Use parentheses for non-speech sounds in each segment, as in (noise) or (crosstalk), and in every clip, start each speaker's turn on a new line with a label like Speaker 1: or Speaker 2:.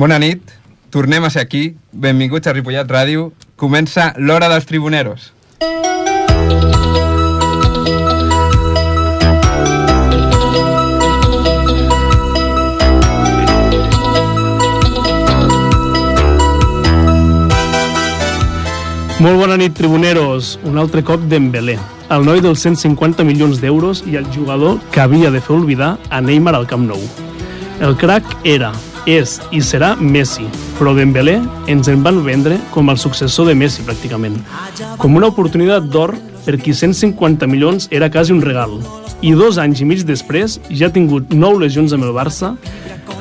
Speaker 1: Bona nit, tornem a ser aquí, benvinguts a Ripollet Ràdio, comença l'Hora dels Tribuneros.
Speaker 2: Molt bona nit, tribuneros. Un altre cop Dembélé, el noi dels 150 milions d'euros i el jugador que havia de fer oblidar a Neymar al Camp Nou. El crack era, és i serà Messi, però Dembélé ens en van vendre com el successor de Messi, pràcticament. Com una oportunitat d'or per qui 150 milions era quasi un regal. I dos anys i mig després ja ha tingut nou lesions amb el Barça,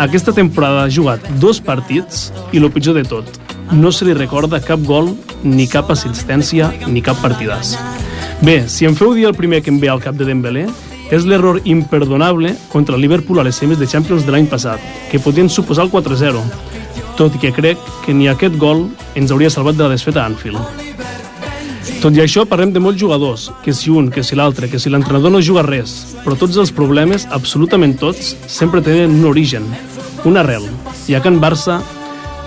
Speaker 2: aquesta temporada ha jugat dos partits i el pitjor de tot, no se li recorda cap gol, ni cap assistència, ni cap partidàs. Bé, si em feu dir el primer que em ve al cap de Dembélé, és l'error imperdonable contra el Liverpool a les semis de Champions de l'any passat, que podien suposar el 4-0, tot i que crec que ni aquest gol ens hauria salvat de la desfeta a Anfield. Tot i això, parlem de molts jugadors, que si un, que si l'altre, que si l'entrenador no juga res, però tots els problemes, absolutament tots, sempre tenen un origen, una arrel, i a Can Barça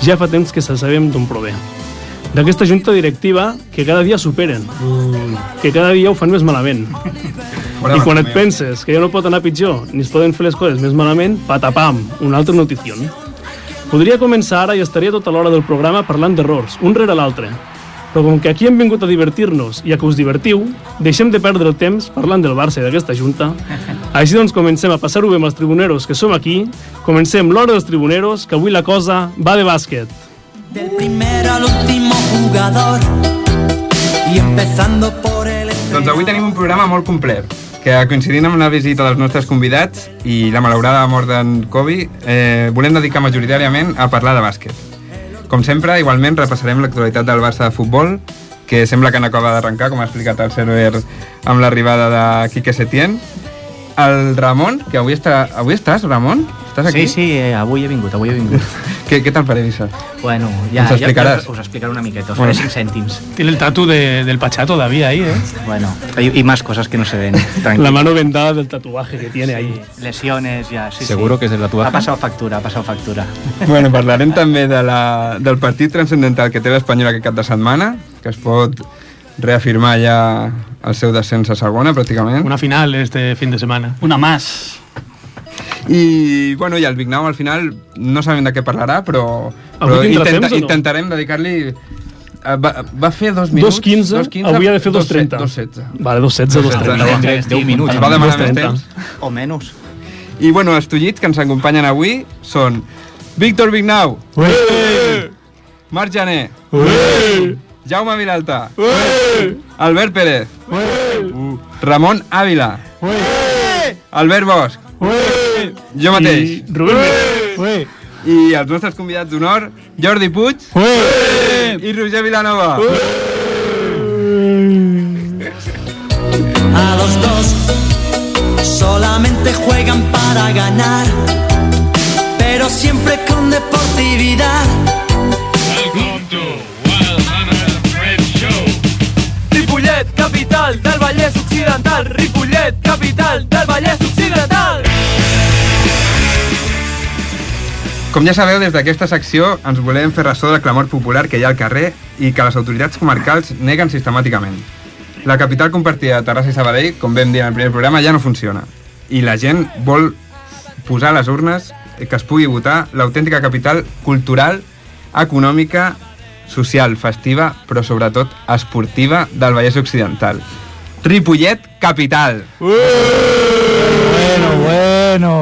Speaker 2: ja fa temps que se sabem d'on prové. D'aquesta junta directiva que cada dia superen, que cada dia ho fan més malament. I quan et penses que ja no pot anar pitjor, ni es poden fer les coses més malament, patapam, una altra notició. Podria començar ara i estaria tota l'hora del programa parlant d'errors, un rere l'altre. Però com que aquí hem vingut a divertir-nos i a que us divertiu, deixem de perdre el temps parlant del Barça i d'aquesta junta. Així doncs comencem a passar-ho bé amb els tribuneros que som aquí. Comencem l'hora dels tribuneros, que avui la cosa va de bàsquet.
Speaker 3: Del primero al último jugador. Y empezando por el
Speaker 1: Doncs avui tenim un programa molt complet, que coincidint amb la visita dels nostres convidats i la malaurada mort d'en Kobe, eh, volem dedicar majoritàriament a parlar de bàsquet. Com sempre, igualment repassarem l'actualitat del Barça de futbol, que sembla que n'acaba d'arrencar, com ha explicat el server amb l'arribada de Quique Setién. El Ramon, que avui, està, avui estàs, Ramon? Estàs aquí?
Speaker 4: Sí, sí, eh, avui he vingut, avui he
Speaker 5: (laughs)
Speaker 4: vingut.
Speaker 1: Què, què te'n pareix, això?
Speaker 4: Bueno, ja,
Speaker 1: Ens explicaràs.
Speaker 4: ja us explicaré una miqueta, us faré 5 cèntims.
Speaker 6: Tiene el tatu de- del Pachá todavía ahí, ¿eh?
Speaker 4: Bueno, y, y más cosas que no se ven, (laughs)
Speaker 2: La
Speaker 4: tranquilo.
Speaker 2: mano vendada del tatuaje que tiene ahí.
Speaker 4: Lesiones ya, sí,
Speaker 6: ¿Seguro
Speaker 4: sí.
Speaker 6: que es el tatuaje?
Speaker 4: Ha pasado factura, ha pasado factura.
Speaker 1: Bueno, parlarem també de la, del partit transcendental que té l'Espanyol aquest cap de setmana, que es pot reafirmar ja el seu descens a segona, pràcticament.
Speaker 6: Una final este fin de semana.
Speaker 7: Una más.
Speaker 1: I, bueno, i el Big Now al final no sabem de què parlarà, però, però
Speaker 2: Avui tindrà temps o no?
Speaker 1: intentarem dedicar-li... eh, Va, va fer dos minuts...
Speaker 2: 2.15, avui ha de fer 2.30.
Speaker 1: 2.16.
Speaker 2: Vale, 2.16, 2.30.
Speaker 6: 10 minutos.
Speaker 1: Ens va demanar més
Speaker 2: 2.30.
Speaker 1: temps.
Speaker 4: (laughs) O menos.
Speaker 1: I bueno, els tullits que ens acompanyen avui són Víctor Vignau, Ué! Marc Jané, Ué! Jaume Vilalta, Ué! Albert Pérez, Ué! Ramon Ávila, Ué! Albert Bosch, Ué! jo mateix,
Speaker 2: I Rubén Ué!
Speaker 1: I... i els nostres convidats d'honor, Jordi Puig Ué! i Roger Vilanova. Ué!
Speaker 3: A los dos solamente juegan para ganar, pero siempre con deportividad.
Speaker 8: Ripollet, capital del Vallès Occidental. Ripollet, capital del Vallès Occidental.
Speaker 1: Com ja sabeu, des d'aquesta secció ens volem fer ressò del clamor popular que hi ha al carrer i que les autoritats comarcals neguen sistemàticament. La capital compartida de Terrassa i Sabadell, com vam dir en el primer programa, ja no funciona. I la gent vol posar a les urnes que es pugui votar l'autèntica capital cultural, econòmica, social, festiva, però sobretot esportiva del Vallès Occidental. Ripollet, capital!
Speaker 6: Bueno, bueno.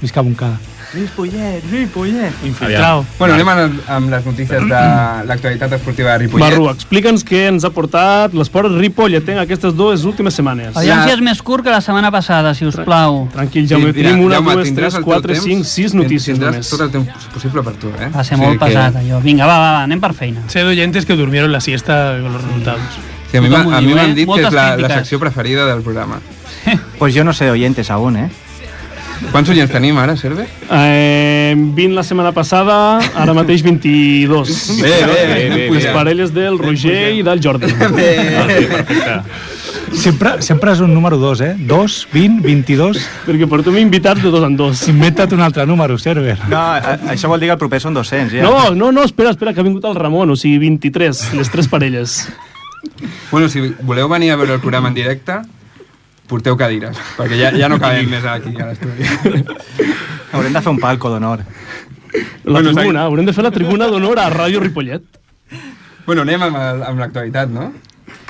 Speaker 6: Visca Moncada.
Speaker 4: Luis Puyet, Luis Puyet.
Speaker 6: Infiltrado.
Speaker 1: Bueno, anem amb- amb les notícies de l'actualitat esportiva de Ripollet.
Speaker 2: Marru, explica'ns què ens ha portat l'esport Ripolletenc aquestes dues últimes setmanes.
Speaker 7: Aviam
Speaker 1: Ja.
Speaker 7: si és més curt que la setmana passada, si us plau.
Speaker 2: Tranquil, Jaume,
Speaker 1: Mira,
Speaker 2: tenim una,
Speaker 1: Jaume,
Speaker 2: dues,
Speaker 1: tindràs
Speaker 2: tres,
Speaker 1: el teu
Speaker 2: quatre,
Speaker 1: temps,
Speaker 2: cinc, sis
Speaker 1: ten-
Speaker 2: notícies
Speaker 1: tindràs
Speaker 2: només.
Speaker 1: tot el temps possible per tu, eh?
Speaker 7: Va ser
Speaker 1: O sigui
Speaker 7: molt
Speaker 1: que-
Speaker 7: pesat, allò. Vinga, va, va, va, anem per feina.
Speaker 6: Sé de oyentes que durmieron la siesta con los resultados.
Speaker 1: Sí, a mi
Speaker 7: Tothom
Speaker 1: m'ha-
Speaker 7: ho
Speaker 1: a mi
Speaker 7: diu,
Speaker 1: m'han
Speaker 7: eh?
Speaker 1: dit que és
Speaker 7: Moltes
Speaker 1: la, la
Speaker 7: crítiques.
Speaker 1: secció preferida del programa.
Speaker 4: Pues yo no sé de oyentes aún, ¿eh?
Speaker 1: Quants oients tenim ara, Serve?
Speaker 2: Eh, 20 la setmana passada, ara mateix 22.
Speaker 1: bé,
Speaker 2: (laughs)
Speaker 1: bé,
Speaker 2: Ah, Les
Speaker 1: (laughs)
Speaker 2: parelles del Roger i del Jordi.
Speaker 1: bé.
Speaker 9: Sempre, sempre és un número 2, eh? 2, 20, 22...
Speaker 2: Perquè portem invitats de dos en dos.
Speaker 9: Inventa't un altre número, Cerver.
Speaker 4: No, a- això vol dir que el proper són 200, ja.
Speaker 2: No, no, no, espera, espera, que ha vingut el Ramon, o sigui, 23, les tres parelles.
Speaker 1: Bueno, si voleu venir a veure el programa en directe, porteu cadires, perquè ja,
Speaker 2: (laughs)
Speaker 1: ja no cabem més aquí a l'estudi.
Speaker 4: Haurem de fer un palco d'honor.
Speaker 2: La
Speaker 1: Bueno,
Speaker 2: tribuna,
Speaker 1: exacte.
Speaker 2: haurem de fer la tribuna d'honor a Ràdio Ripollet.
Speaker 1: Bueno, anem amb, el- amb l'actualitat, no?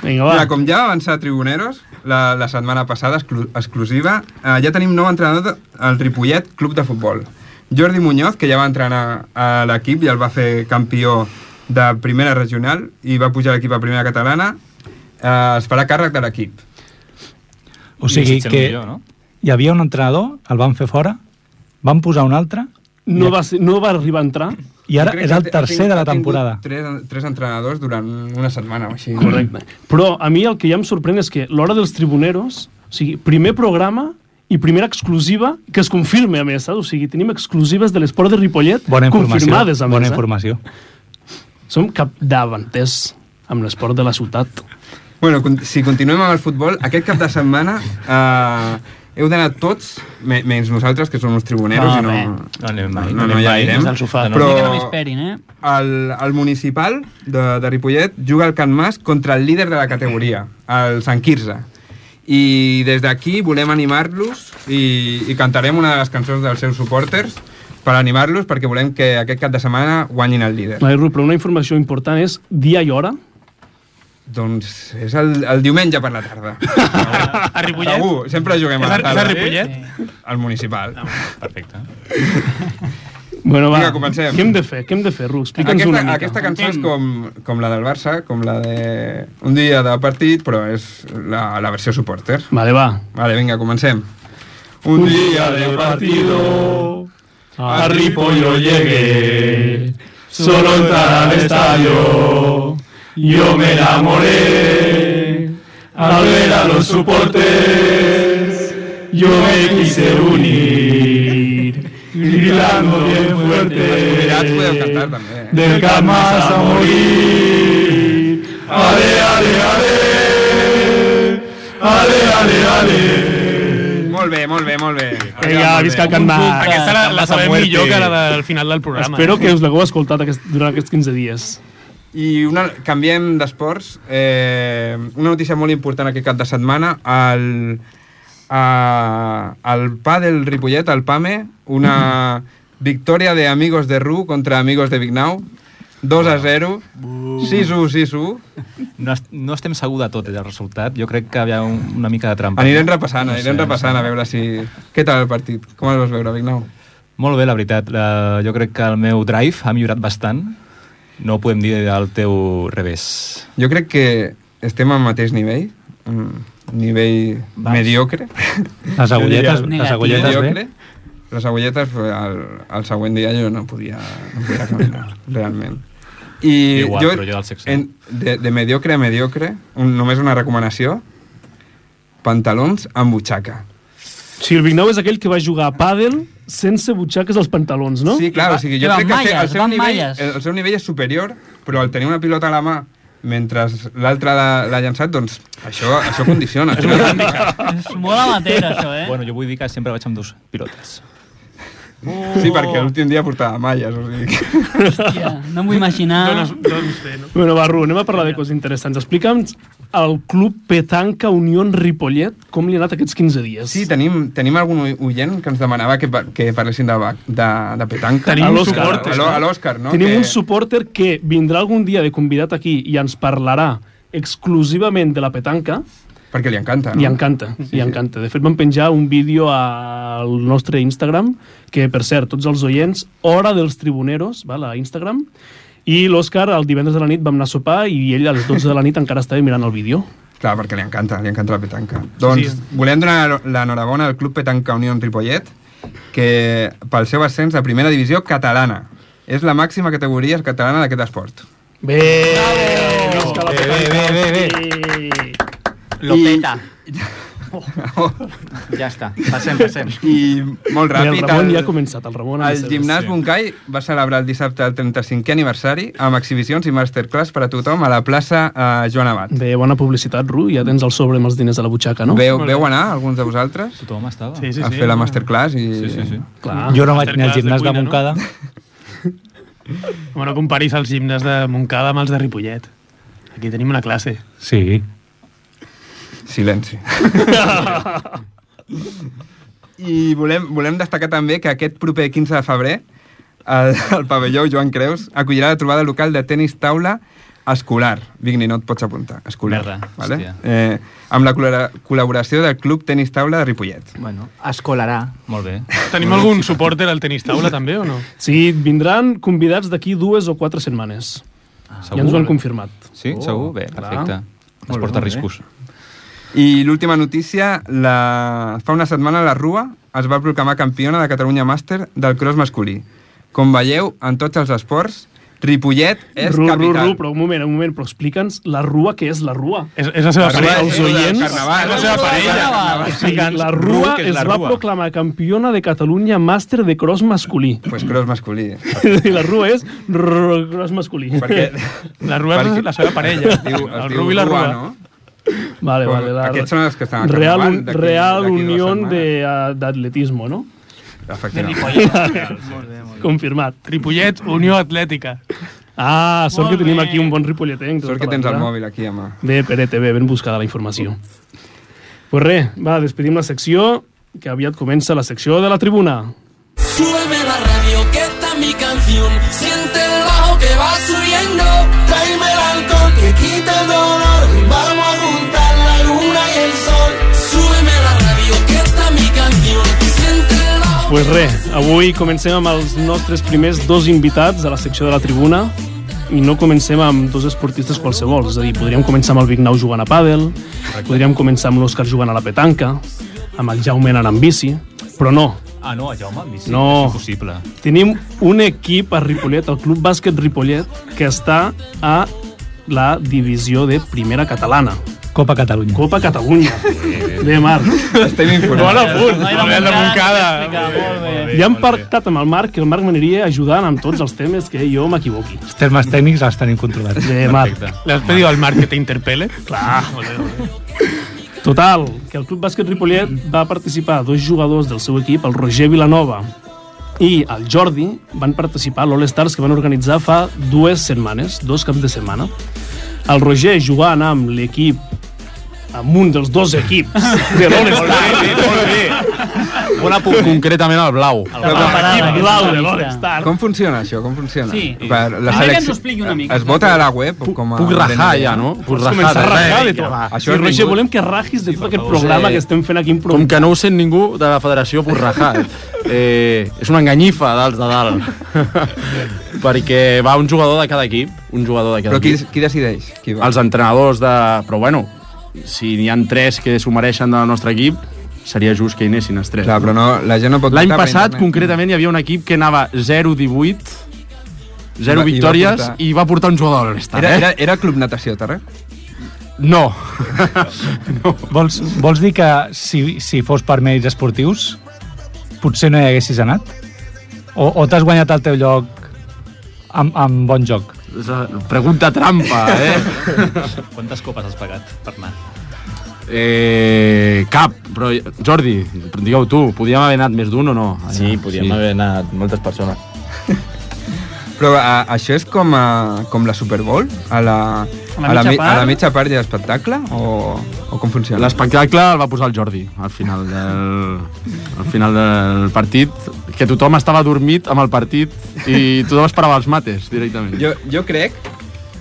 Speaker 2: Vinga, va.
Speaker 1: Mira, com ja va avançar Tribuneros la, la setmana passada, exclu exclusiva, eh, ja tenim nou entrenador de- al Ripollet Club de Futbol. Jordi Muñoz, que ja va entrenar a l'equip i el va fer campió de primera regional i va pujar l'equip a primera catalana, eh, es farà càrrec de l'equip.
Speaker 9: O sigui
Speaker 4: Mitchell
Speaker 9: que
Speaker 4: Millor, no?
Speaker 9: hi havia un entrenador, el van fer fora, van posar un altre,
Speaker 2: No va, ser, no va arribar a entrar.
Speaker 9: i ara
Speaker 1: Jo crec
Speaker 9: és el
Speaker 1: que ha tingut-
Speaker 9: tercer de la
Speaker 1: ha tingut
Speaker 9: temporada.
Speaker 1: Tres, tres entrenadors durant una setmana o així.
Speaker 2: Correcte. Però a mi el que ja em sorprèn és que l'hora dels tribuneros, o sigui, primer programa i primera exclusiva que es confirme, a més, saps? O sigui, tenim exclusives de l'esport de Ripollet
Speaker 9: Bona informació.
Speaker 2: confirmades, a més.
Speaker 9: Bona
Speaker 2: eh?
Speaker 9: informació.
Speaker 2: Som capdavanters amb l'esport de la ciutat.
Speaker 1: Bueno, con- si continuem amb el futbol, aquest cap de setmana eh, heu d'anar tots, me menys nosaltres, que som uns tribuneros,
Speaker 7: No,
Speaker 1: i no,
Speaker 7: bé.
Speaker 5: No anem mai, no
Speaker 1: no, no,
Speaker 5: anem
Speaker 1: ja
Speaker 5: mai,
Speaker 1: anirem.
Speaker 5: des del sofà,
Speaker 7: No,
Speaker 5: no?
Speaker 1: Però
Speaker 7: vull dir que no m'esperin, eh?
Speaker 1: el, el municipal de, de Ripollet juga al Can Mas contra el líder de la categoria, el Sant Quirze. I des d'aquí volem animar-los i, i cantarem una de les cançons dels seus supporters per animar-los perquè volem que aquest cap de setmana guanyin el líder.
Speaker 2: Noi, Ru, però una informació important és dia i hora.
Speaker 1: Doncs és el, el diumenge per la tarda.
Speaker 6: (laughs) A Ripollet?
Speaker 1: Segur, sempre juguem a
Speaker 6: És a,
Speaker 1: la
Speaker 6: és a
Speaker 1: tarda. eh?
Speaker 6: Ripollet? Ah,
Speaker 1: Al municipal.
Speaker 5: Perfecte.
Speaker 2: Bueno, va,
Speaker 1: Vinga, comencem.
Speaker 2: què hem de fer? Què hem de fer, Ru? Explica'ns una
Speaker 1: Aquesta,
Speaker 2: mica.
Speaker 1: aquesta cançó
Speaker 6: Mm.
Speaker 1: és com, com la del Barça, com la de un dia de partit, però és la, la versió supporter.
Speaker 2: Vale, va.
Speaker 1: Vale, vinga, comencem. Un dia de
Speaker 2: partido
Speaker 10: Ah.
Speaker 1: a
Speaker 2: Ripollo llegué, solo entrar al estadio, yo me enamoré, al ver a los soportes, yo me quise unir, gritando bien
Speaker 1: Mirats podeu cantar,
Speaker 2: fuerte,
Speaker 1: també. eh?
Speaker 2: del Camas a morir, ale, ale, ale, ale, ale, ale.
Speaker 1: Molt bé, molt bé, molt bé.
Speaker 2: Vinga, visca el Camas.
Speaker 1: eh?
Speaker 6: Aquesta la, la
Speaker 5: Vas a
Speaker 6: sabem
Speaker 5: muerte.
Speaker 6: millor que la del final del programa.
Speaker 2: Espero que us l'hagueu escoltat aquest, durant aquests 15 dies.
Speaker 1: I una, canviem d'esports. Eh, una notícia molt important aquest cap de setmana. El, a, el pa del Ripollet, el PAME, E, una victòria de Amigos de Ru contra Amigos de Vignau. 2 a 0, 6-1, 6-1.
Speaker 5: No, es- no estem segur de tot eh, del resultat. Jo crec que hi ha un, una mica de trampa.
Speaker 1: Anirem repassant,
Speaker 5: No sé,
Speaker 1: anirem
Speaker 5: no sé.
Speaker 1: repassant a veure si... Què tal el partit? Com el vas veure, Vignau?
Speaker 5: Molt bé, la veritat. Uh, jo crec que el meu drive ha millorat bastant. No ho podem dir del teu revés.
Speaker 1: Jo crec que estem al mateix nivell, un nivell
Speaker 5: Baix.
Speaker 1: mediocre.
Speaker 9: Les agulletes, les
Speaker 7: negatiu.
Speaker 9: agulletes bé.
Speaker 1: mediocre. Les agulletes, el, el següent dia jo no podia, no podia caminar, realment. I
Speaker 5: Igual,
Speaker 1: jo,
Speaker 5: però jo del sexe.
Speaker 1: en, de, de mediocre a mediocre, un, només una recomanació, pantalons amb butxaca.
Speaker 2: Sí, el Vignau és aquell que va jugar a pàdel sense butxaques als pantalons, no?
Speaker 1: Sí, clar,
Speaker 7: Va-
Speaker 1: o sigui,
Speaker 7: que
Speaker 1: jo
Speaker 7: van
Speaker 1: crec que el
Speaker 7: malles,
Speaker 1: seu- el, seu
Speaker 7: van
Speaker 1: nivell,
Speaker 7: malles.
Speaker 1: el, el seu nivell és superior, però el tenir una pilota a la mà mentre l'altra l'ha l'ha llançat, doncs això, això condiciona. això (laughs) és una mica-
Speaker 7: És molt amateur, això, eh?
Speaker 5: Bueno, jo vull dir que sempre vaig amb dos pilotes.
Speaker 1: Sí, perquè l'últim dia portava malles, o sigui... que-
Speaker 7: Hòstia, no em vull imaginar...
Speaker 6: Doncs, doncs bé, no?
Speaker 2: Bueno, va, Ru, anem a parlar de coses interessants. Explica'm el club Petanca Unió Ripollet, com li ha anat aquests 15 dies.
Speaker 1: Sí, tenim, tenim algun oi- oient que ens demanava que, pa- que parlessin de, ba- de, de petanca.
Speaker 6: Tenim
Speaker 1: A
Speaker 6: un
Speaker 1: l'Òscar,
Speaker 6: supporter,
Speaker 1: a l'O- A l'Òscar, no?
Speaker 2: Tenim
Speaker 1: que...
Speaker 2: un supporter que vindrà algun dia de convidat aquí i ens parlarà exclusivament de la petanca,
Speaker 1: Perquè li encanta, Ah, no?
Speaker 2: Li encanta, sí, li
Speaker 1: sí.
Speaker 2: encanta. De fet, vam penjar un vídeo al nostre Instagram, que, per cert, tots els oients, Hora dels Tribuneros, val, a Instagram, i l'Òscar el divendres de la nit vam anar a sopar i ell a les 12 de la nit encara estava mirant el vídeo.
Speaker 1: Clar, perquè li encanta, li encanta la petanca. Doncs
Speaker 6: Sí.
Speaker 1: volem donar l'enhorabona al Club Petanca Unió en Ripollet, que pel seu ascens a primera divisió catalana. És la màxima categoria catalana d'aquest esport.
Speaker 2: Bé!
Speaker 6: Eh,
Speaker 2: Bravo!
Speaker 1: Oh,
Speaker 4: Bé, bé, bé, bé, bé.
Speaker 2: bé.
Speaker 1: Lo I,
Speaker 7: peta.
Speaker 4: Ja està, passem, passem.
Speaker 1: (laughs) I molt
Speaker 2: Mira, el
Speaker 1: ràpid,
Speaker 2: Ramon ja ha començat, el Ramon. ha
Speaker 1: el
Speaker 2: començat.
Speaker 1: gimnàs Bunkai va celebrar el dissabte el 35è aniversari amb exhibicions i masterclass per a tothom a la plaça eh, Joan Abat.
Speaker 2: Bé, bona publicitat, Ru, ja tens el sobre amb els diners a la butxaca, no?
Speaker 1: Veu, veu anar, alguns de vosaltres,
Speaker 5: Tothom estava.
Speaker 6: Sí, sí,
Speaker 1: a
Speaker 6: sí.
Speaker 1: fer la masterclass i...
Speaker 5: Sí, sí, sí.
Speaker 2: Clar.
Speaker 9: Jo no vaig anar al
Speaker 6: Masterclass de
Speaker 9: gimnàs de
Speaker 6: cuina, no?
Speaker 9: Montcada.
Speaker 6: Home, no comparis els gimnàs de Montcada amb els de Ripollet. Aquí tenim una classe.
Speaker 9: Sí.
Speaker 5: (laughs)
Speaker 1: Silenci. I volem, volem destacar també que aquest proper 15 de febrer el, el pavelló Joan Creus acollirà la trobada local de tennis taula escolar. Vigni, no et pots apuntar. Escolar.
Speaker 5: Merda,
Speaker 1: vale?
Speaker 5: hòstia.
Speaker 1: eh, amb la col·la- col·laboració del Club Tenis Taula de Ripollet.
Speaker 4: Bueno, escolarà.
Speaker 5: Molt bé.
Speaker 6: Tenim algun supòrter al tenis taula, també, o no?
Speaker 2: Sí, vindran convidats d'aquí dues o quatre setmanes. Ja ens ho han confirmat.
Speaker 5: Sí, oh, segur? Bé, perfecte.
Speaker 4: Molt bé,
Speaker 5: Es
Speaker 4: molt
Speaker 5: porta
Speaker 4: bé.
Speaker 5: riscos.
Speaker 1: I l'última notícia, la... fa una setmana la Rua es va proclamar campiona de Catalunya Màster del cross masculí. Com veieu, en tots els esports, Ripollet és
Speaker 2: ru, ru,
Speaker 1: capital.
Speaker 2: ru, però un moment, un moment, però explica'ns la rua que és la rua.
Speaker 6: És, és la seva
Speaker 1: Carnaval,
Speaker 6: parella.
Speaker 2: els
Speaker 1: és el
Speaker 2: oients-
Speaker 1: carnaval.
Speaker 6: És la seva parella.
Speaker 2: O sigui, la
Speaker 5: Ru,
Speaker 2: rua
Speaker 5: que és
Speaker 2: es
Speaker 5: la
Speaker 2: va
Speaker 5: Rua.
Speaker 2: proclamar campiona de Catalunya màster de cross masculí. (laughs)
Speaker 1: Pues cross masculí.
Speaker 2: I la rua és rrr, cross masculí.
Speaker 1: Perquè
Speaker 6: La Rua és
Speaker 1: Perquè-
Speaker 6: la seva parella.
Speaker 1: es diu, es
Speaker 6: El
Speaker 1: diu
Speaker 6: Ru i la
Speaker 1: Rua,
Speaker 6: Rua.
Speaker 1: no?
Speaker 2: (laughs) Vale, vale. La...
Speaker 1: Aquests són els que estan al
Speaker 2: Real,
Speaker 1: carnaval d'aquí-
Speaker 2: Real
Speaker 1: d'aquí dues
Speaker 2: Unió
Speaker 1: setmanes.
Speaker 2: de, eh, d'Atletismo, no? (laughs)
Speaker 1: Efectivament.
Speaker 2: Confirmat.
Speaker 6: Ripollet, Unió Atlètica.
Speaker 2: Ah, sort
Speaker 7: Molt
Speaker 2: que tenim
Speaker 7: bé.
Speaker 2: aquí un bon ripolletenc.
Speaker 1: Sort
Speaker 2: tota
Speaker 1: que
Speaker 2: la
Speaker 1: tens el
Speaker 2: vida.
Speaker 1: mòbil aquí, home.
Speaker 2: Bé, Perete, bé, ben buscada la informació. Pues res, va, despedim la secció, que aviat comença la secció de la tribuna.
Speaker 3: Súbeme la radio que está mi canción. Siente el bajo que va subiendo. Tráeme el alcohol que quita el dolor. Vamos a juntar la luna y el sol. Súbeme la radio que está mi canción. Siente el bajo.
Speaker 2: Pues res, avui comencem amb els nostres primers dos invitats a la secció de la tribuna i no comencem amb dos esportistes qualsevol, és a dir, podríem començar amb el Vignau jugant a pàdel, podríem començar amb l'Òscar jugant a la petanca, amb el Jaume anant amb bici, però no,
Speaker 5: Ah, no, Jaume, amb bici.
Speaker 2: No.
Speaker 5: És impossible.
Speaker 2: tenim un equip a Ripollet, el Club Bàsquet Ripollet, que està a la divisió de primera catalana,
Speaker 9: Copa Catalunya.
Speaker 2: Copa Catalunya. Bé, Marc.
Speaker 1: Estem informats.
Speaker 2: punt.
Speaker 7: Noi
Speaker 6: Molt bé, el de Montcada.
Speaker 7: explica, Molt bé.
Speaker 2: Ja hem pactat amb el Marc, que el Marc m'aniria ajudant amb tots els temes que jo m'equivoqui.
Speaker 9: Els termes tècnics els tenim controlats.
Speaker 2: Bé, Marc.
Speaker 6: L'has pedit al Marc que t'interpel·le?
Speaker 2: Clar. Total, que el Club Bàsquet Ripollet va participar dos jugadors del seu equip, el Roger Vilanova i el Jordi, van participar a l'All Stars que van organitzar fa dues setmanes, dos caps de setmana. El Roger jugant amb l'equip amb un dels dos equips de l'All Stars.
Speaker 5: On ha punt concretament el blau?
Speaker 7: Està preparada,
Speaker 2: L'equip blau de l'All
Speaker 7: aquesta
Speaker 2: Stars.
Speaker 1: Com funciona això? Com funciona?
Speaker 7: Sí.
Speaker 1: Per la
Speaker 7: Primer que ens
Speaker 1: selecció-
Speaker 7: ho expliqui una mica.
Speaker 1: Es vota a la web com a...
Speaker 5: Puc rajar ja, no? Puc rajar.
Speaker 10: eh,
Speaker 2: S'ha rajar de
Speaker 5: Vinga,
Speaker 2: tot.
Speaker 5: va.
Speaker 1: Això
Speaker 2: Això sí,
Speaker 1: és
Speaker 2: Roger,
Speaker 1: vingut.
Speaker 2: volem que rajis de tot aquest programa que estem fent aquí
Speaker 10: Com
Speaker 2: improvisat.
Speaker 10: que no ho sent ningú de la federació, puc
Speaker 1: (laughs)
Speaker 10: rajar. Eh, és una enganyifa dalt de dalt. Perquè va un jugador de cada equip, un jugador de cada
Speaker 1: Però qui,
Speaker 10: equip.
Speaker 1: qui decideix? Qui va?
Speaker 10: Els entrenadors de... Però bueno, si n'hi han tres que s'ho mereixen del nostre equip, seria just que hi anessin els tres.
Speaker 1: Clar, però no, la gent no pot
Speaker 10: L'any
Speaker 1: votar per
Speaker 10: passat,
Speaker 1: internet.
Speaker 10: concretament, hi havia un equip que anava 0-18, 0
Speaker 1: I va- i va
Speaker 10: victòries,
Speaker 1: portar-
Speaker 10: i va portar un jugador de l'Estat,
Speaker 1: Ah, Era,
Speaker 10: eh?
Speaker 1: era, era Club Natació, Terra?
Speaker 10: No.
Speaker 9: Vols, vols dir que si, si fos per mèrits esportius potser no hi haguessis anat? O, o t'has guanyat el teu lloc amb, amb bon joc?
Speaker 10: És una Pregunta trampa, eh?
Speaker 5: (laughs) Quantes copes has pagat per anar?
Speaker 10: Eh, cap, però Jordi, digueu tu, podíem haver anat més d'un o no? Allà.
Speaker 11: Sí, podíem sí. haver anat moltes persones.
Speaker 1: Però a, això és com, a, com la Super Bowl? A la,
Speaker 7: A la
Speaker 1: a la,
Speaker 7: mitja
Speaker 1: mi- a
Speaker 7: part.
Speaker 1: la mitja part de l'espectacle? O, o com funciona?
Speaker 10: L'espectacle el va posar el Jordi al final del, al final del partit, que tothom estava adormit amb el partit i tothom esperava els mates directament.
Speaker 1: Jo, jo crec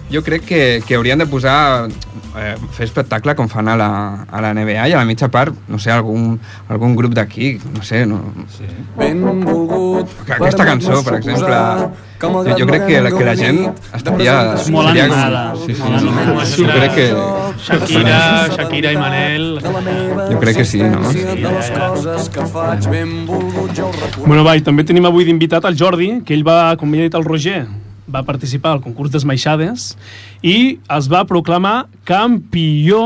Speaker 1: jo crec que, que haurien de posar eh, fer espectacle com fan a la, a la NBA i a la mitja part, no sé, algun, algun grup d'aquí, no sé, no... Sí.
Speaker 8: Benvolgut.
Speaker 1: Que aquesta cançó, per exemple, jo, jo crec que la, que la gent estaria...
Speaker 7: Molt
Speaker 1: seria-
Speaker 7: animada.
Speaker 1: Sí, sí,
Speaker 7: Molt animada.
Speaker 1: sí. Jo crec que...
Speaker 6: Shakira, Shakira i Manel.
Speaker 1: Jo crec que sí, no?
Speaker 8: De les coses que faig, benvolgut, jo ho recordo.
Speaker 2: Bueno, va, i també tenim avui d'invitat el Jordi, que ell va, com ja ha dit el Roger, va participar al concurs d'esmaixades i es va proclamar campió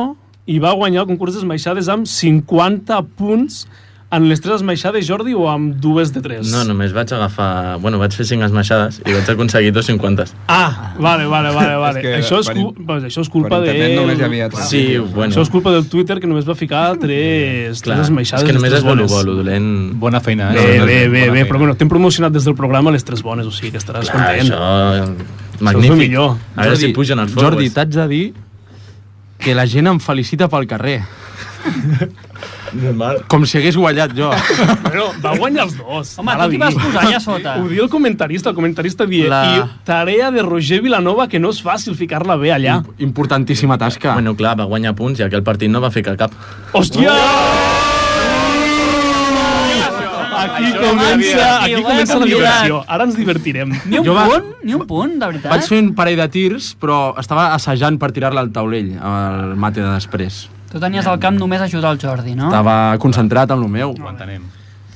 Speaker 2: i va guanyar el concurs d'esmaixades amb 50 punts en les tres esmaixades, Jordi, o amb dues de tres?
Speaker 11: No, només vaig agafar... Bueno, vaig fer 5 esmaixades i vaig aconseguir 250.
Speaker 2: Ah, vale, vale, vale.
Speaker 11: (laughs)
Speaker 2: vale.
Speaker 11: És que
Speaker 2: això, és
Speaker 11: per
Speaker 2: cu... pues, això és culpa
Speaker 11: per
Speaker 2: de...
Speaker 11: internet només hi havia tres. Sí, bueno.
Speaker 2: Això és culpa del Twitter, que només va ficar tres,
Speaker 11: Clar,
Speaker 2: tres esmaixades.
Speaker 11: és que només
Speaker 2: les
Speaker 11: és
Speaker 2: tres
Speaker 11: bolo,
Speaker 2: bones.
Speaker 11: bolo, dolent...
Speaker 5: Bona feina, eh?
Speaker 2: Bé, bé, bé, bé, però bueno, t'hem promocionat des del programa les tres bones, o sigui que estaràs
Speaker 11: Clar,
Speaker 10: Ah,
Speaker 2: content.
Speaker 11: això...
Speaker 2: Això és el
Speaker 11: Magnífic.
Speaker 2: millor.
Speaker 11: A veure si pugen els followers.
Speaker 10: Jordi, t'haig de dir que la gent em felicita pel carrer.
Speaker 11: Normal.
Speaker 10: Com si hagués guanyat jo.
Speaker 2: Però va guanyar els dos.
Speaker 10: Home,
Speaker 2: Ara
Speaker 10: tu t'hi
Speaker 2: digui.
Speaker 10: vas posar allà sota.
Speaker 2: Ho diu el comentarista, el comentarista diu la...
Speaker 10: La-
Speaker 2: i tarea de Roger Vilanova que no és fàcil ficar-la bé allà.
Speaker 11: Importantíssima tasca. Ah. Bueno, clar, va guanyar punts i aquell partit no va ficar cap.
Speaker 2: Hòstia! Aquí
Speaker 11: Això no
Speaker 2: comença,
Speaker 11: sabia.
Speaker 2: aquí
Speaker 11: Tio, vaya
Speaker 2: comença la
Speaker 11: complicat.
Speaker 2: diversió. Ara ens divertirem.
Speaker 7: Ni un
Speaker 10: Jo va-
Speaker 7: punt, ni un punt, de veritat.
Speaker 10: Vaig fer un parell de tirs, però estava assajant per tirar-la al taulell, al mate de després.
Speaker 7: Tu tenies al camp només a ajudar el Jordi, no?
Speaker 10: Estava concentrat en el meu.
Speaker 5: Ho entenem.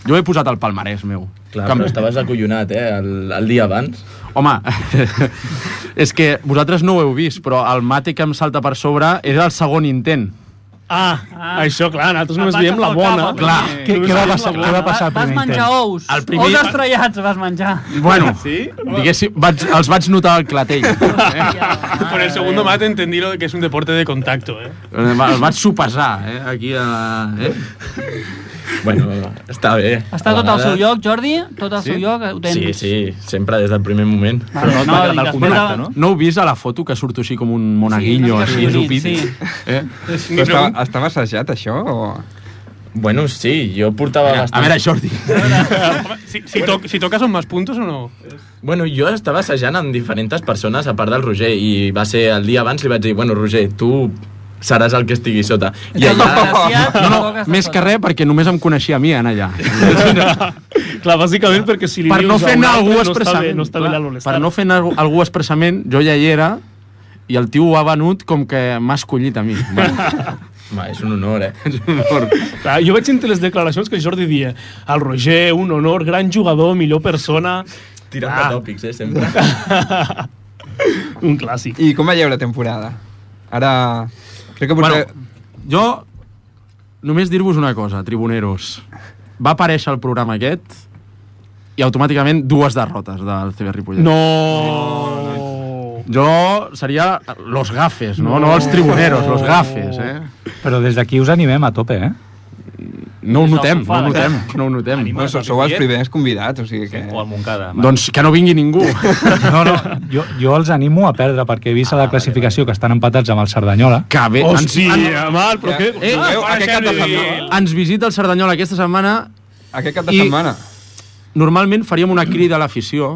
Speaker 10: Jo he posat el palmarès meu.
Speaker 11: Clar, però estaves acollonat, eh, el, el dia abans.
Speaker 10: Home, (laughs) és que vosaltres no ho heu vist, però el mate que em salta per sobre és el segon intent.
Speaker 2: Ah, ah, això, clar, nosaltres només
Speaker 7: Em
Speaker 2: veiem la
Speaker 7: vaig agafar el
Speaker 2: bona.
Speaker 7: cap, Clar.
Speaker 9: Què- què va passar- què va
Speaker 7: Vas, vas menjar ous.
Speaker 10: El primer-
Speaker 7: Ous estrellats vas menjar.
Speaker 10: Bueno, sí? diguéssim, vaig, els vaig notar al clatell.
Speaker 6: Por el segundo mate entendí lo de que es un deporte de contacto, ¿eh?
Speaker 10: Els vaig sopesar, eh, aquí a... Eh?
Speaker 11: Bueno, està bé.
Speaker 7: Està
Speaker 11: A
Speaker 7: tot al
Speaker 11: vegades-
Speaker 7: seu lloc, Jordi? Tot al
Speaker 11: Sí?
Speaker 7: seu lloc? Ho tens? Ah.
Speaker 11: Sí, sí, sempre des del primer moment.
Speaker 7: Vale, Però no et va no, agradar el digues, contacte, espera. no?
Speaker 10: No heu vist a la foto que surto així com un monaguillo,
Speaker 11: Sí,
Speaker 10: així,
Speaker 11: una mica
Speaker 10: zupit?
Speaker 11: arrodonit,
Speaker 10: Eh?
Speaker 11: Però estava-
Speaker 10: estava assajat, això? O...
Speaker 11: Bueno, sí, jo portava
Speaker 10: A
Speaker 11: bastant...
Speaker 10: veure, Jordi.
Speaker 6: Si, si, toc- si tocas son más puntos o no?
Speaker 11: Bueno, jo estava assajant amb diferents persones a part del Roger i va ser el dia abans li vaig dir, bueno, Roger, tu seràs el que estigui sota. I allà...
Speaker 10: No, no, més que res perquè només em coneixia a mi, en allà.
Speaker 2: Clar, bàsicament perquè si li
Speaker 10: per
Speaker 2: dius
Speaker 10: no
Speaker 2: a
Speaker 10: fer
Speaker 2: un
Speaker 10: anar
Speaker 2: altre,
Speaker 10: algú
Speaker 2: no està bé-
Speaker 10: expressament.
Speaker 2: no està bé
Speaker 10: clar,
Speaker 2: l'honestar.
Speaker 10: per no fer anar algú expressament, jo ja hi era i el tio ho ha venut com que m'ha escollit a
Speaker 2: (laughs)
Speaker 10: mi.
Speaker 11: Va, és un (laughs) honor, eh?
Speaker 10: És un honor.
Speaker 2: Clar, Ah, jo vaig sentir les declaracions que el Jordi dia el Roger, un honor, gran jugador, millor persona...
Speaker 11: Tirant de tòpics, eh, sempre.
Speaker 2: un clàssic.
Speaker 1: I com veieu la temporada? Ara... Crec que
Speaker 10: Bueno,
Speaker 1: potser...
Speaker 10: jo només dir-vos una cosa, tribuneros. Va aparèixer el programa aquest i automàticament dues derrotes del CB Ripollet.
Speaker 2: No!
Speaker 10: Jo seria los gafes, no? No, no els tribuneros, los gafes, eh?
Speaker 9: Però des d'aquí us animem a tope, eh?
Speaker 10: No ho
Speaker 9: Des del
Speaker 10: notem, no
Speaker 9: sofà,
Speaker 10: ho
Speaker 9: de
Speaker 10: notem,
Speaker 9: casa.
Speaker 10: no ho notem.
Speaker 1: No, sou, sou els primers convidats, o sigui que... O
Speaker 5: al Montcada.
Speaker 10: Doncs que no vingui ningú.
Speaker 9: No, no, jo, jo els animo a perdre perquè he vist a la classificació que estan empatats amb el Cerdanyola.
Speaker 10: Que bé,
Speaker 2: Hòstia, mal, però què...
Speaker 10: Eh,
Speaker 2: Ah,
Speaker 10: ah, aquest cap de setmana. Ens visita el Cerdanyola aquesta setmana.
Speaker 1: Aquest cap de setmana.
Speaker 10: Normalment faríem una crida a l'afició,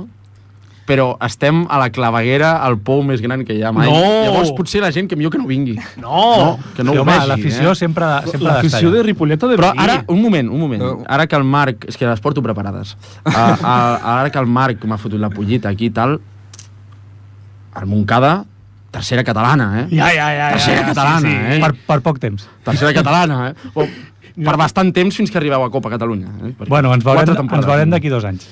Speaker 10: però estem a la claveguera, al pou més gran que hi ha mai.
Speaker 9: No!
Speaker 10: Llavors potser la gent que millor que no vingui.
Speaker 2: No!
Speaker 10: que no
Speaker 9: Sí,
Speaker 10: ho
Speaker 9: home,
Speaker 10: vegi,
Speaker 9: l'afició
Speaker 10: eh?
Speaker 9: sempre- sempre ha d'estar allà.
Speaker 2: Ripollet ha de
Speaker 10: Però
Speaker 9: venir.
Speaker 10: ara, un moment, un moment. Ara que el Marc... És que les porto preparades. Uh, uh, ara que el Marc m'ha fotut la pollita aquí i tal, el Montcada, tercera catalana, eh?
Speaker 9: Ja, ja, ja, ja,
Speaker 10: Tercera
Speaker 9: ja,
Speaker 10: catalana,
Speaker 9: sí, sí.
Speaker 10: eh?
Speaker 9: Per- per poc temps.
Speaker 10: Tercera catalana, eh? O, per bastant temps fins que arribeu a Copa Catalunya. Eh? Perquè
Speaker 9: Bueno, ens
Speaker 10: quatre
Speaker 9: veurem, ens
Speaker 10: temporades.
Speaker 9: veurem d'aquí dos anys.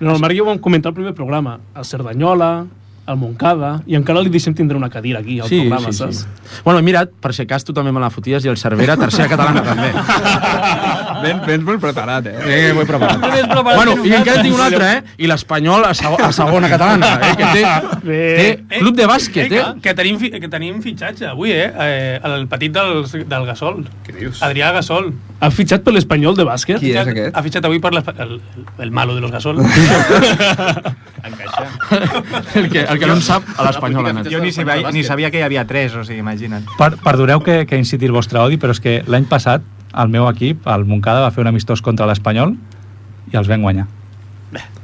Speaker 2: No, el Marc i jo ho vam comentar al primer programa. El Cerdanyola, el Montcada, i encara li deixem tindre una cadira aquí al programa, saps?
Speaker 10: Bueno, mira't, per si cas tu també me la foties i el Cervera, tercera catalana també.
Speaker 1: Ben, ben molt preparat, eh?
Speaker 10: Eh, ho he preparat.
Speaker 1: Ben preparat
Speaker 10: bueno,
Speaker 1: que
Speaker 10: i encara tinc una altra,
Speaker 1: nosaltres.
Speaker 10: eh? I l'Espanyol a, seg a segona catalana, eh? Que té, té club de bàsquet, eh?
Speaker 6: que, tenim, fi- que tenim fitxatge avui, eh? eh el petit del, del Gasol. Què dius? Adrià Gasol.
Speaker 2: Ha fitxat per l'Espanyol de bàsquet?
Speaker 6: Qui és aquest? Ha fitxat avui per l'espa- el, el, el malo de los Gasol.
Speaker 10: El que, el que no en sap, a l'Espanyol. ha anat.
Speaker 4: Jo ni sabia, ni sabia que hi havia tres, o sigui, imagina't.
Speaker 12: Mm,
Speaker 9: Per, perdoneu que, que inciti el vostre odi, però és que l'any passat el meu equip, el Moncada, va fer un amistós contra l'Espanyol i els vam guanyar.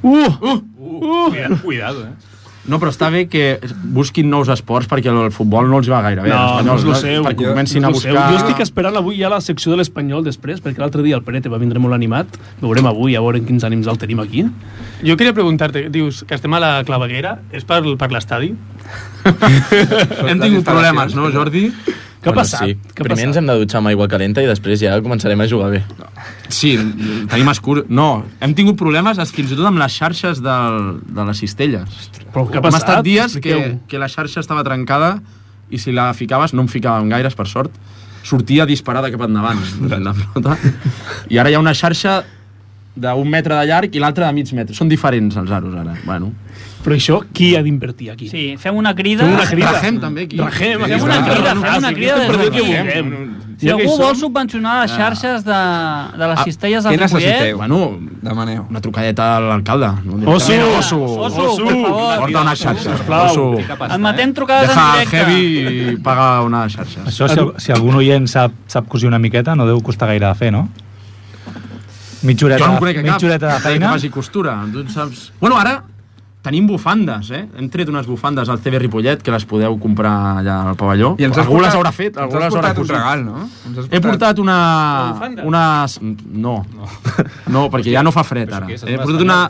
Speaker 2: Uh!
Speaker 6: Uh! uh! Cuidado, eh?
Speaker 10: No, però està bé que busquin nous esports perquè el futbol no els va gaire bé.
Speaker 2: No,
Speaker 10: l'Espanyol,
Speaker 2: no és lo seu.
Speaker 10: Perquè
Speaker 2: Jo-
Speaker 10: comencin
Speaker 2: no
Speaker 10: a
Speaker 2: és lo seu.
Speaker 10: buscar...
Speaker 2: Jo estic esperant avui ja la secció de l'Espanyol després, perquè l'altre dia el Pere te va vindre molt animat. Veurem avui, a veure quins ànims el tenim aquí.
Speaker 6: Jo quería preguntarte, dius, que estem a la claveguera, és per, per l'estadi?
Speaker 10: Hem tingut problemes, no, Jordi?
Speaker 2: Què ha passat?
Speaker 11: Sí.
Speaker 2: Què ha
Speaker 11: Primer ens hem de dutxar amb aigua calenta i després ja començarem a jugar bé.
Speaker 10: Sí, tenim escur... No, hem tingut problemes es- fins i tot amb les xarxes del, de les cistelles.
Speaker 2: Però què ha
Speaker 10: Hem
Speaker 2: passat?
Speaker 10: estat dies que,
Speaker 2: Expliqueu.
Speaker 10: que la xarxa estava trencada i si la ficaves no en ficàvem gaires, per sort. sortia disparada cap endavant la pilota. I ara hi ha una xarxa d'un metre de llarg i l'altra de mig metre. Són diferents els aros ara. Bueno.
Speaker 2: Però això, qui ha d'invertir aquí?
Speaker 7: Sí, fem una crida.
Speaker 10: Fem una crida. Rajem, també, aquí.
Speaker 2: Rajem,
Speaker 10: Sí,
Speaker 2: aquí.
Speaker 10: fem una crida,
Speaker 2: Ah,
Speaker 7: fem una
Speaker 2: sí,
Speaker 7: crida
Speaker 2: que
Speaker 7: des
Speaker 2: perdó
Speaker 7: d'aquí.
Speaker 2: que vulguem.
Speaker 7: Si
Speaker 2: Ja que hi
Speaker 7: algú vol
Speaker 2: som.
Speaker 7: subvencionar les xarxes de, de les cistelles del
Speaker 10: Ah. Què necessiteu?
Speaker 7: Ripollet...
Speaker 10: Bueno, Demaneu. una trucadeta a l'alcalde. No?
Speaker 7: Oso!
Speaker 10: Directament.
Speaker 7: Oso! Oso, Oso! per favor.
Speaker 10: Porta una xarxa.
Speaker 7: Sisplau. Admetem trucades en
Speaker 10: Deja
Speaker 7: directe.
Speaker 10: heavy i paga una xarxa.
Speaker 9: Això, si, si algun oient sap, sap cosir una miqueta, no deu costar gaire de fer, no? Mitja horeta,
Speaker 10: jo no en conec a cap.
Speaker 9: mitja horeta de feina.
Speaker 10: Que faci costura. Tu en saps... Bueno, ara tenim bufandes, eh? Hem tret unes bufandes al CB Ripollet que les podeu comprar allà al pavelló.
Speaker 1: I ens has
Speaker 10: algú
Speaker 1: portat-
Speaker 10: les haurà fet, algú
Speaker 1: ens has
Speaker 10: les haurà
Speaker 1: portat un
Speaker 10: cosit.
Speaker 1: regal, no? Ens has
Speaker 10: He portat una...
Speaker 1: Una bufanda?
Speaker 10: una... No. no. No, perquè ja no fa fred, ara.
Speaker 1: Però és que és
Speaker 10: He
Speaker 1: de
Speaker 10: portat una,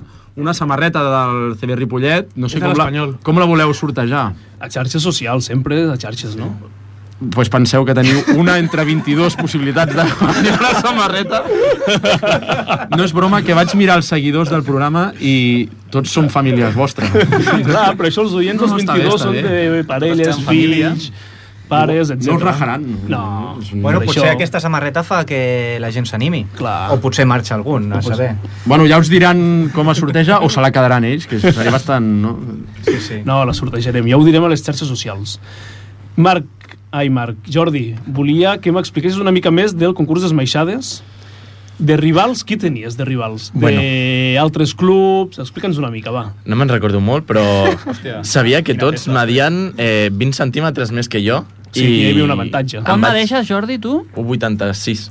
Speaker 10: una samarreta del CB Ripollet. No sé
Speaker 2: És de
Speaker 10: com la,
Speaker 2: l'Espanyol.
Speaker 10: com la voleu sortejar.
Speaker 2: A xarxes socials, sempre a xarxes, no?
Speaker 10: Pues penseu que teniu una entre 22 possibilitats de guanyar una samarreta. No és broma, que vaig mirar els seguidors del programa i tots són famílies vostres.
Speaker 2: Clar, però això els oients,
Speaker 10: Ah, No,
Speaker 2: els
Speaker 10: no, està
Speaker 2: 22,
Speaker 10: bé, està
Speaker 2: són
Speaker 10: bé.
Speaker 2: de parelles,
Speaker 10: Estan en família.
Speaker 2: fills, pares, etc.
Speaker 10: No us rajaran.
Speaker 2: No.
Speaker 4: Bueno, potser
Speaker 2: Això-
Speaker 4: aquesta samarreta fa que la gent s'animi.
Speaker 2: Clar.
Speaker 4: O potser marxa algun, a
Speaker 10: Pues,
Speaker 4: saber.
Speaker 10: bueno, ja us diran com es sorteja o se la quedaran ells, que seria bastant... No?
Speaker 4: Sí, sí.
Speaker 2: No, la sortejarem, ja ho direm a les xarxes socials. Marc, ai Marc, Jordi, volia que m'expliquessis una mica més del concurs d'esmaixades. De rivals, qui tenies de rivals?
Speaker 11: Bueno.
Speaker 2: De altres clubs? Explica'ns una mica, va.
Speaker 11: No me'n recordo molt, però
Speaker 2: (laughs) Hòstia.
Speaker 11: sabia que tots medien eh, 20 centímetres més que jo.
Speaker 2: Sí, hi havia un avantatge.
Speaker 11: em
Speaker 7: Quan me
Speaker 11: vaig-
Speaker 7: deixes, Jordi, tu?
Speaker 11: 1,86.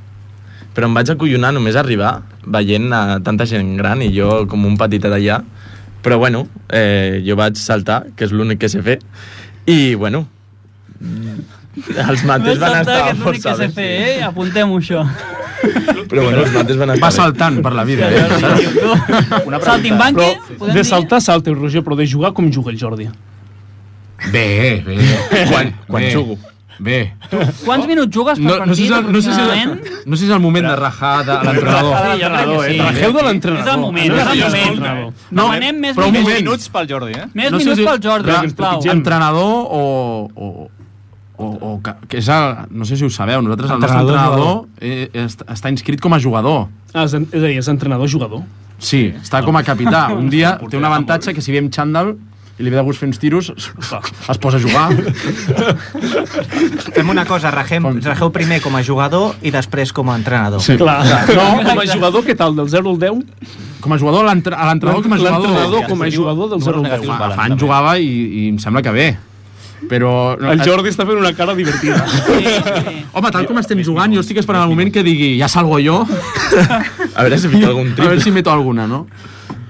Speaker 11: Però em vaig acollonar només a arribar veient a tanta gent gran i jo com un petitet allà. Però bueno, eh, jo vaig saltar, que és l'únic que sé fer, i bueno, els mates van estar
Speaker 7: que és l'únic
Speaker 11: força
Speaker 7: que sé
Speaker 11: bé.
Speaker 7: fer, eh? Apuntem-ho, això.
Speaker 11: Però bueno, els mates van estar
Speaker 10: Va saltant per la vida. eh?
Speaker 7: Una Saltimbanqui, podem
Speaker 2: de
Speaker 7: dir?
Speaker 2: saltar, salta el Roger, però de jugar com juga el Jordi.
Speaker 10: Bé, bé. Quan, quan
Speaker 11: Bé.
Speaker 10: jugo. Bé.
Speaker 7: Quants minuts jugues per
Speaker 10: No, no, sé si
Speaker 7: partit,
Speaker 10: és el, no, sé si és el,
Speaker 7: aproximadament?
Speaker 10: no sé si és el moment de rajar de l'entrenador.
Speaker 7: Sí, jo crec que sí.
Speaker 10: Rajeu de l'entrenador.
Speaker 7: És el moment, és el moment. Demanem més
Speaker 10: però un
Speaker 7: minuts.
Speaker 10: moment.
Speaker 7: minuts
Speaker 5: pel Jordi, eh? Més
Speaker 7: minuts pel Jordi,
Speaker 10: Clar,
Speaker 7: sisplau.
Speaker 10: Entrenador o... o o, o que, que és el, no sé si ho sabeu, nosaltres el nostre entrenador
Speaker 2: Entrenador,
Speaker 10: eh, est- està inscrit com a jugador.
Speaker 2: Ah, és, en- és a dir, és entrenador-jugador.
Speaker 10: Sí, està com a capità.
Speaker 2: (laughs)
Speaker 10: Un dia té un avantatge que si ve amb xandall i li ve de gust fer uns tiros, es posa a
Speaker 2: (laughs)
Speaker 10: jugar.
Speaker 4: Fem una cosa, ragem, rageu primer com a jugador i després com a entrenador.
Speaker 10: Sí.
Speaker 2: Clar. No, com a
Speaker 4: Exacte.
Speaker 2: jugador, què tal? Del 0 al 10?
Speaker 10: Com a jugador, l'entre- a l'entrenador com a jugador.
Speaker 2: L'entrenador com a jugador del 0 al 10.
Speaker 10: Home, Fan jugava i, i em sembla que bé. Però... eh,
Speaker 2: El Jordi està fent una cara divertida.
Speaker 10: Home, tal com estem jugant, jo estic esperant el moment que digui ja salgo jo.
Speaker 11: A veure si fica algun
Speaker 10: A veure
Speaker 11: triple.
Speaker 10: si meto alguna, no?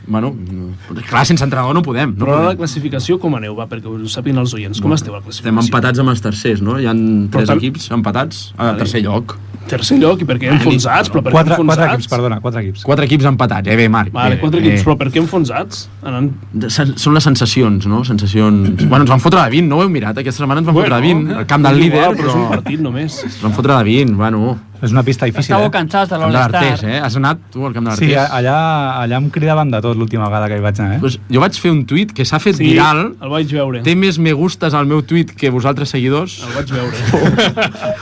Speaker 10: Bueno, no. clar, sense entrenador no podem. No
Speaker 2: Però ara la
Speaker 10: podem.
Speaker 2: classificació com aneu, va, perquè ho sàpiguen els oients. Com esteu a la classificació?
Speaker 10: Estem empatats amb els tercers, no? Hi ha
Speaker 2: Però
Speaker 10: tres
Speaker 2: tal-
Speaker 10: equips empatats a tercer lloc.
Speaker 2: Tercer lloc, i per què enfonsats? Però per què
Speaker 9: Quatre,
Speaker 2: enfonsats?
Speaker 9: quatre equips, perdona, quatre equips.
Speaker 10: Quatre equips empatats, eh? Bé, Marc.
Speaker 2: Vale,
Speaker 10: bé,
Speaker 2: quatre equips,
Speaker 10: bé.
Speaker 2: però per què enfonsats? Anant...
Speaker 10: De- sen- Són les sensacions, no?
Speaker 2: (clears throat)
Speaker 10: Sensacions... Bueno, ens van fotre de 20, no ho heu mirat? Aquesta setmana ens van fotre de 20. El eh, camp del
Speaker 2: és
Speaker 10: líder,
Speaker 2: igual, però...
Speaker 10: però...
Speaker 2: és un partit només.
Speaker 10: Ens van fotre de 20, bueno.
Speaker 9: És una pista difícil,
Speaker 7: Estàveu
Speaker 9: eh?
Speaker 7: cansats de
Speaker 10: Camp de l'Artés,
Speaker 7: l'All-Star.
Speaker 10: eh? Has anat tu al camp de l'Artés?
Speaker 9: Sí, a- allà, allà em cridaven de tot l'última vegada que hi vaig anar, eh?
Speaker 10: Pues jo vaig fer un tuit que s'ha fet
Speaker 2: Sí,
Speaker 10: viral.
Speaker 2: el vaig veure.
Speaker 10: Té més me gustes al meu tuit que vosaltres seguidors.
Speaker 2: El
Speaker 10: (laughs)
Speaker 2: vaig veure.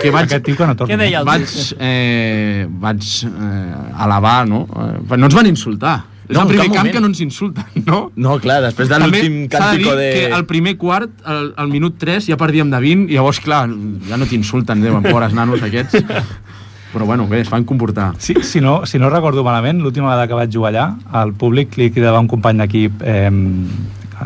Speaker 10: Que vaig,
Speaker 9: Aquest tio que no torna.
Speaker 7: Què deia el
Speaker 10: vaig,
Speaker 7: tio?
Speaker 10: eh, vaig eh, alabar, no? Eh, però no ens van insultar. És
Speaker 11: No,
Speaker 10: el
Speaker 11: en
Speaker 10: primer
Speaker 11: cap
Speaker 10: camp
Speaker 11: moment.
Speaker 10: que no ens insulten, (laughs) no?
Speaker 11: No, clar, després de l'últim
Speaker 10: s'ha de
Speaker 11: càntico de...
Speaker 10: dir que al primer quart, al, al minut 3, ja perdíem de 20, i llavors, clar, ja no t'insulten, deuen, pobres nanos
Speaker 11: (laughs)
Speaker 10: aquests. Però bueno, bé, es van comportar.
Speaker 9: Sí, si, no, si no recordo malament, l'última vegada que vaig jugar allà, al públic li cridava un company d'equip eh,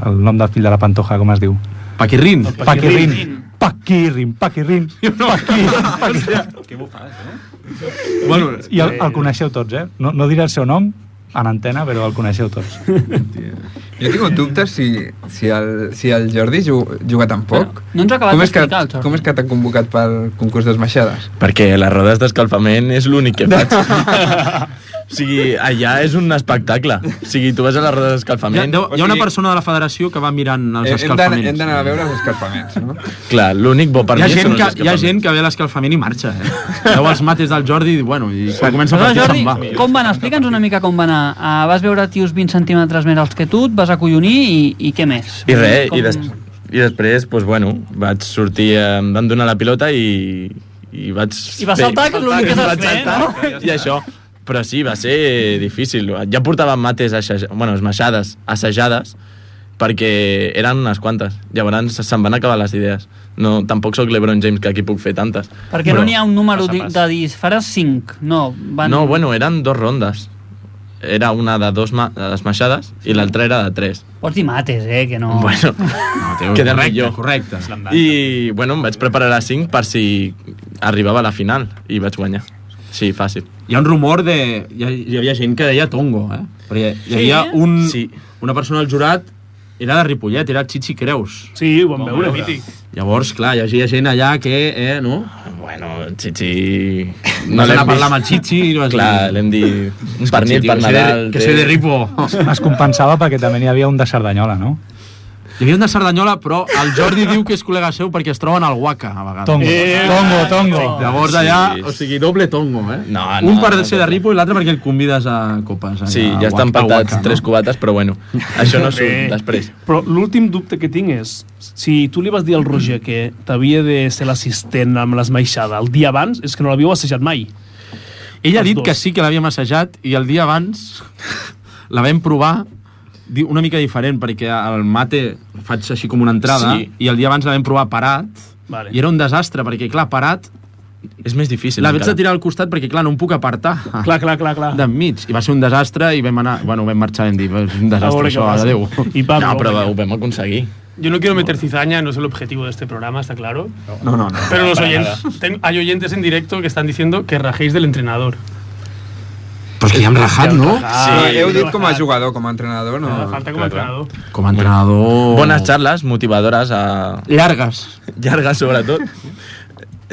Speaker 9: el nom del fill de la Pantoja, com es diu?
Speaker 10: Paquirrin.
Speaker 9: Paquirrin. Paquirrin, Paquirrin, (laughs) Paquirrin.
Speaker 5: Què bufades, eh?
Speaker 10: Bueno,
Speaker 9: I el, el coneixeu tots, eh? No, no diré el seu nom en antena, però el coneixeu tots.
Speaker 1: Jo tinc dubtes si, si, el, si el Jordi ju- juga tan poc.
Speaker 7: No ens ha acabat
Speaker 1: Com és que,
Speaker 7: d'explicar, el Jordi.
Speaker 1: com és que t'han convocat pel concurs d'esmaixades?
Speaker 11: Perquè les rodes d'escalfament és l'únic que
Speaker 10: (laughs)
Speaker 11: faig. o sigui, allà és un espectacle. O sigui, tu vas a les rodes
Speaker 10: Hi ha,
Speaker 11: d'escalfament...
Speaker 10: deu, hi ha una persona de la federació que va mirant els
Speaker 1: Eh, Hem d'anar
Speaker 10: escalfaments.
Speaker 1: hem d'anar a veure els escalfaments, no?
Speaker 11: Clar, l'únic bo per
Speaker 10: hi, ha
Speaker 11: mi
Speaker 10: gent
Speaker 11: són els
Speaker 10: que, hi ha
Speaker 11: escalfaments.
Speaker 10: gent que ve a l'escalfament i marxa, eh? Veu els mates del Jordi i, bueno, i quan comença el
Speaker 7: Aleshores,
Speaker 10: partit se'n va.
Speaker 7: Jordi, com va anar? Explica'ns una mica com va anar. Uh, vas veure tios 20 centímetres més alts que tu, et vas acollonir i, i què més?
Speaker 11: I res,
Speaker 7: com...
Speaker 11: i, des... I després, doncs, bueno, vaig sortir, eh, em van donar la pilota i, i vaig...
Speaker 7: I va saltar, que és l'únic que saps
Speaker 11: Vaig
Speaker 7: fer,
Speaker 11: saltar,
Speaker 7: no?
Speaker 11: I això. Però sí, va ser difícil. Ja portava mates, assaja... bueno, esmaixades, assajades, perquè eren unes quantes. Llavors se'm van acabar les idees. No, tampoc sóc l'Ebron James, que aquí puc fer tantes.
Speaker 7: Perquè no n'hi ha un número di- de dir, faràs 5. No, van...
Speaker 11: No, bueno, eren dos rondes. Era una de dos ma- esmaixades i l'altra era de tres. (laughs)
Speaker 7: Pots dir mates, eh, que no...
Speaker 11: Bueno,
Speaker 7: teu,
Speaker 11: queda
Speaker 7: correcte,
Speaker 11: millor.
Speaker 7: correcte.
Speaker 11: I, bueno, em vaig preparar a 5 per si arribava a la final i vaig guanyar. Sí, fàcil.
Speaker 10: Hi ha un rumor de... Hi, ha, hi havia gent que deia Tongo, eh? Perquè hi havia
Speaker 11: Sí?
Speaker 10: un,
Speaker 7: Mm.
Speaker 10: sí. una persona al jurat era de Ripollet, era Chichi Creus.
Speaker 2: Sí, ho
Speaker 10: vam
Speaker 2: veure. Mític.
Speaker 10: Llavors, clar, hi havia gent allà que, eh, no?
Speaker 11: Bueno, Chichi...
Speaker 10: No vas anar a parlar amb el Chichi i vas
Speaker 11: Clar, l'hem dit... Un pernil per Nadal... té-
Speaker 9: Es compensava perquè també n'hi havia un de Cerdanyola, no?
Speaker 10: Hi havia un de Cerdanyola, però
Speaker 9: el
Speaker 10: Jordi diu que és col·lega seu perquè es troben al Waka, a vegades.
Speaker 9: Tongo, tongo, tongo.
Speaker 10: Llavors allà, o sigui, doble tongo, eh?
Speaker 11: No, no,
Speaker 10: un per
Speaker 11: no,
Speaker 10: ser de Ripo i l'altre perquè el convides a copes. allà
Speaker 11: Sí,
Speaker 10: a
Speaker 11: ja estan
Speaker 10: Waka- a
Speaker 11: empatats
Speaker 10: Waka,
Speaker 11: tres cubates, però bueno, això no
Speaker 2: Bé.
Speaker 11: surt després.
Speaker 2: Però l'últim dubte que tinc és, si tu li vas dir al Roger que t'havia de ser l'assistent amb l'esmaixada el dia abans, és que no l'havíeu assajat mai.
Speaker 10: Ell ha
Speaker 2: Els
Speaker 10: dit
Speaker 2: dos.
Speaker 10: que sí que l'havíem assajat i el dia abans (laughs) la vam provar di- una mica diferent perquè el mate faig així com una entrada
Speaker 11: Sí.
Speaker 10: i el dia abans la vam provar parat
Speaker 2: Vale.
Speaker 10: i era un desastre perquè clar, parat
Speaker 11: és més difícil
Speaker 10: la vaig
Speaker 11: encara.
Speaker 10: de tirar al costat perquè clar, no em puc apartar
Speaker 2: (laughs) clar, clar, clar, clar.
Speaker 10: d'enmig i va ser un desastre i vam anar bueno, vam marxar i vam dir, és un
Speaker 2: A
Speaker 10: desastre
Speaker 2: veure què
Speaker 10: això,
Speaker 2: passa.
Speaker 10: adeu
Speaker 2: I va,
Speaker 11: No, però ho vam aconseguir.
Speaker 13: Yo no quiero meter cizaña, no es el objetivo de este programa, está claro.
Speaker 1: No, no, no.
Speaker 13: Pero los
Speaker 1: (laughs) Para
Speaker 13: oyentes, ten- hay oyentes en directo que están diciendo que rajéis del entrenador.
Speaker 10: però és que ja hem rajat, no?
Speaker 2: Ah,
Speaker 9: Ah,
Speaker 1: Sí, Ah, heu dit com a jugador, com a entrenador, no...
Speaker 13: Falta com a entrenador.
Speaker 10: Com a entrenador...
Speaker 11: Bones xarles, motivadores a...
Speaker 10: Llargues.
Speaker 11: Llargues, sobretot.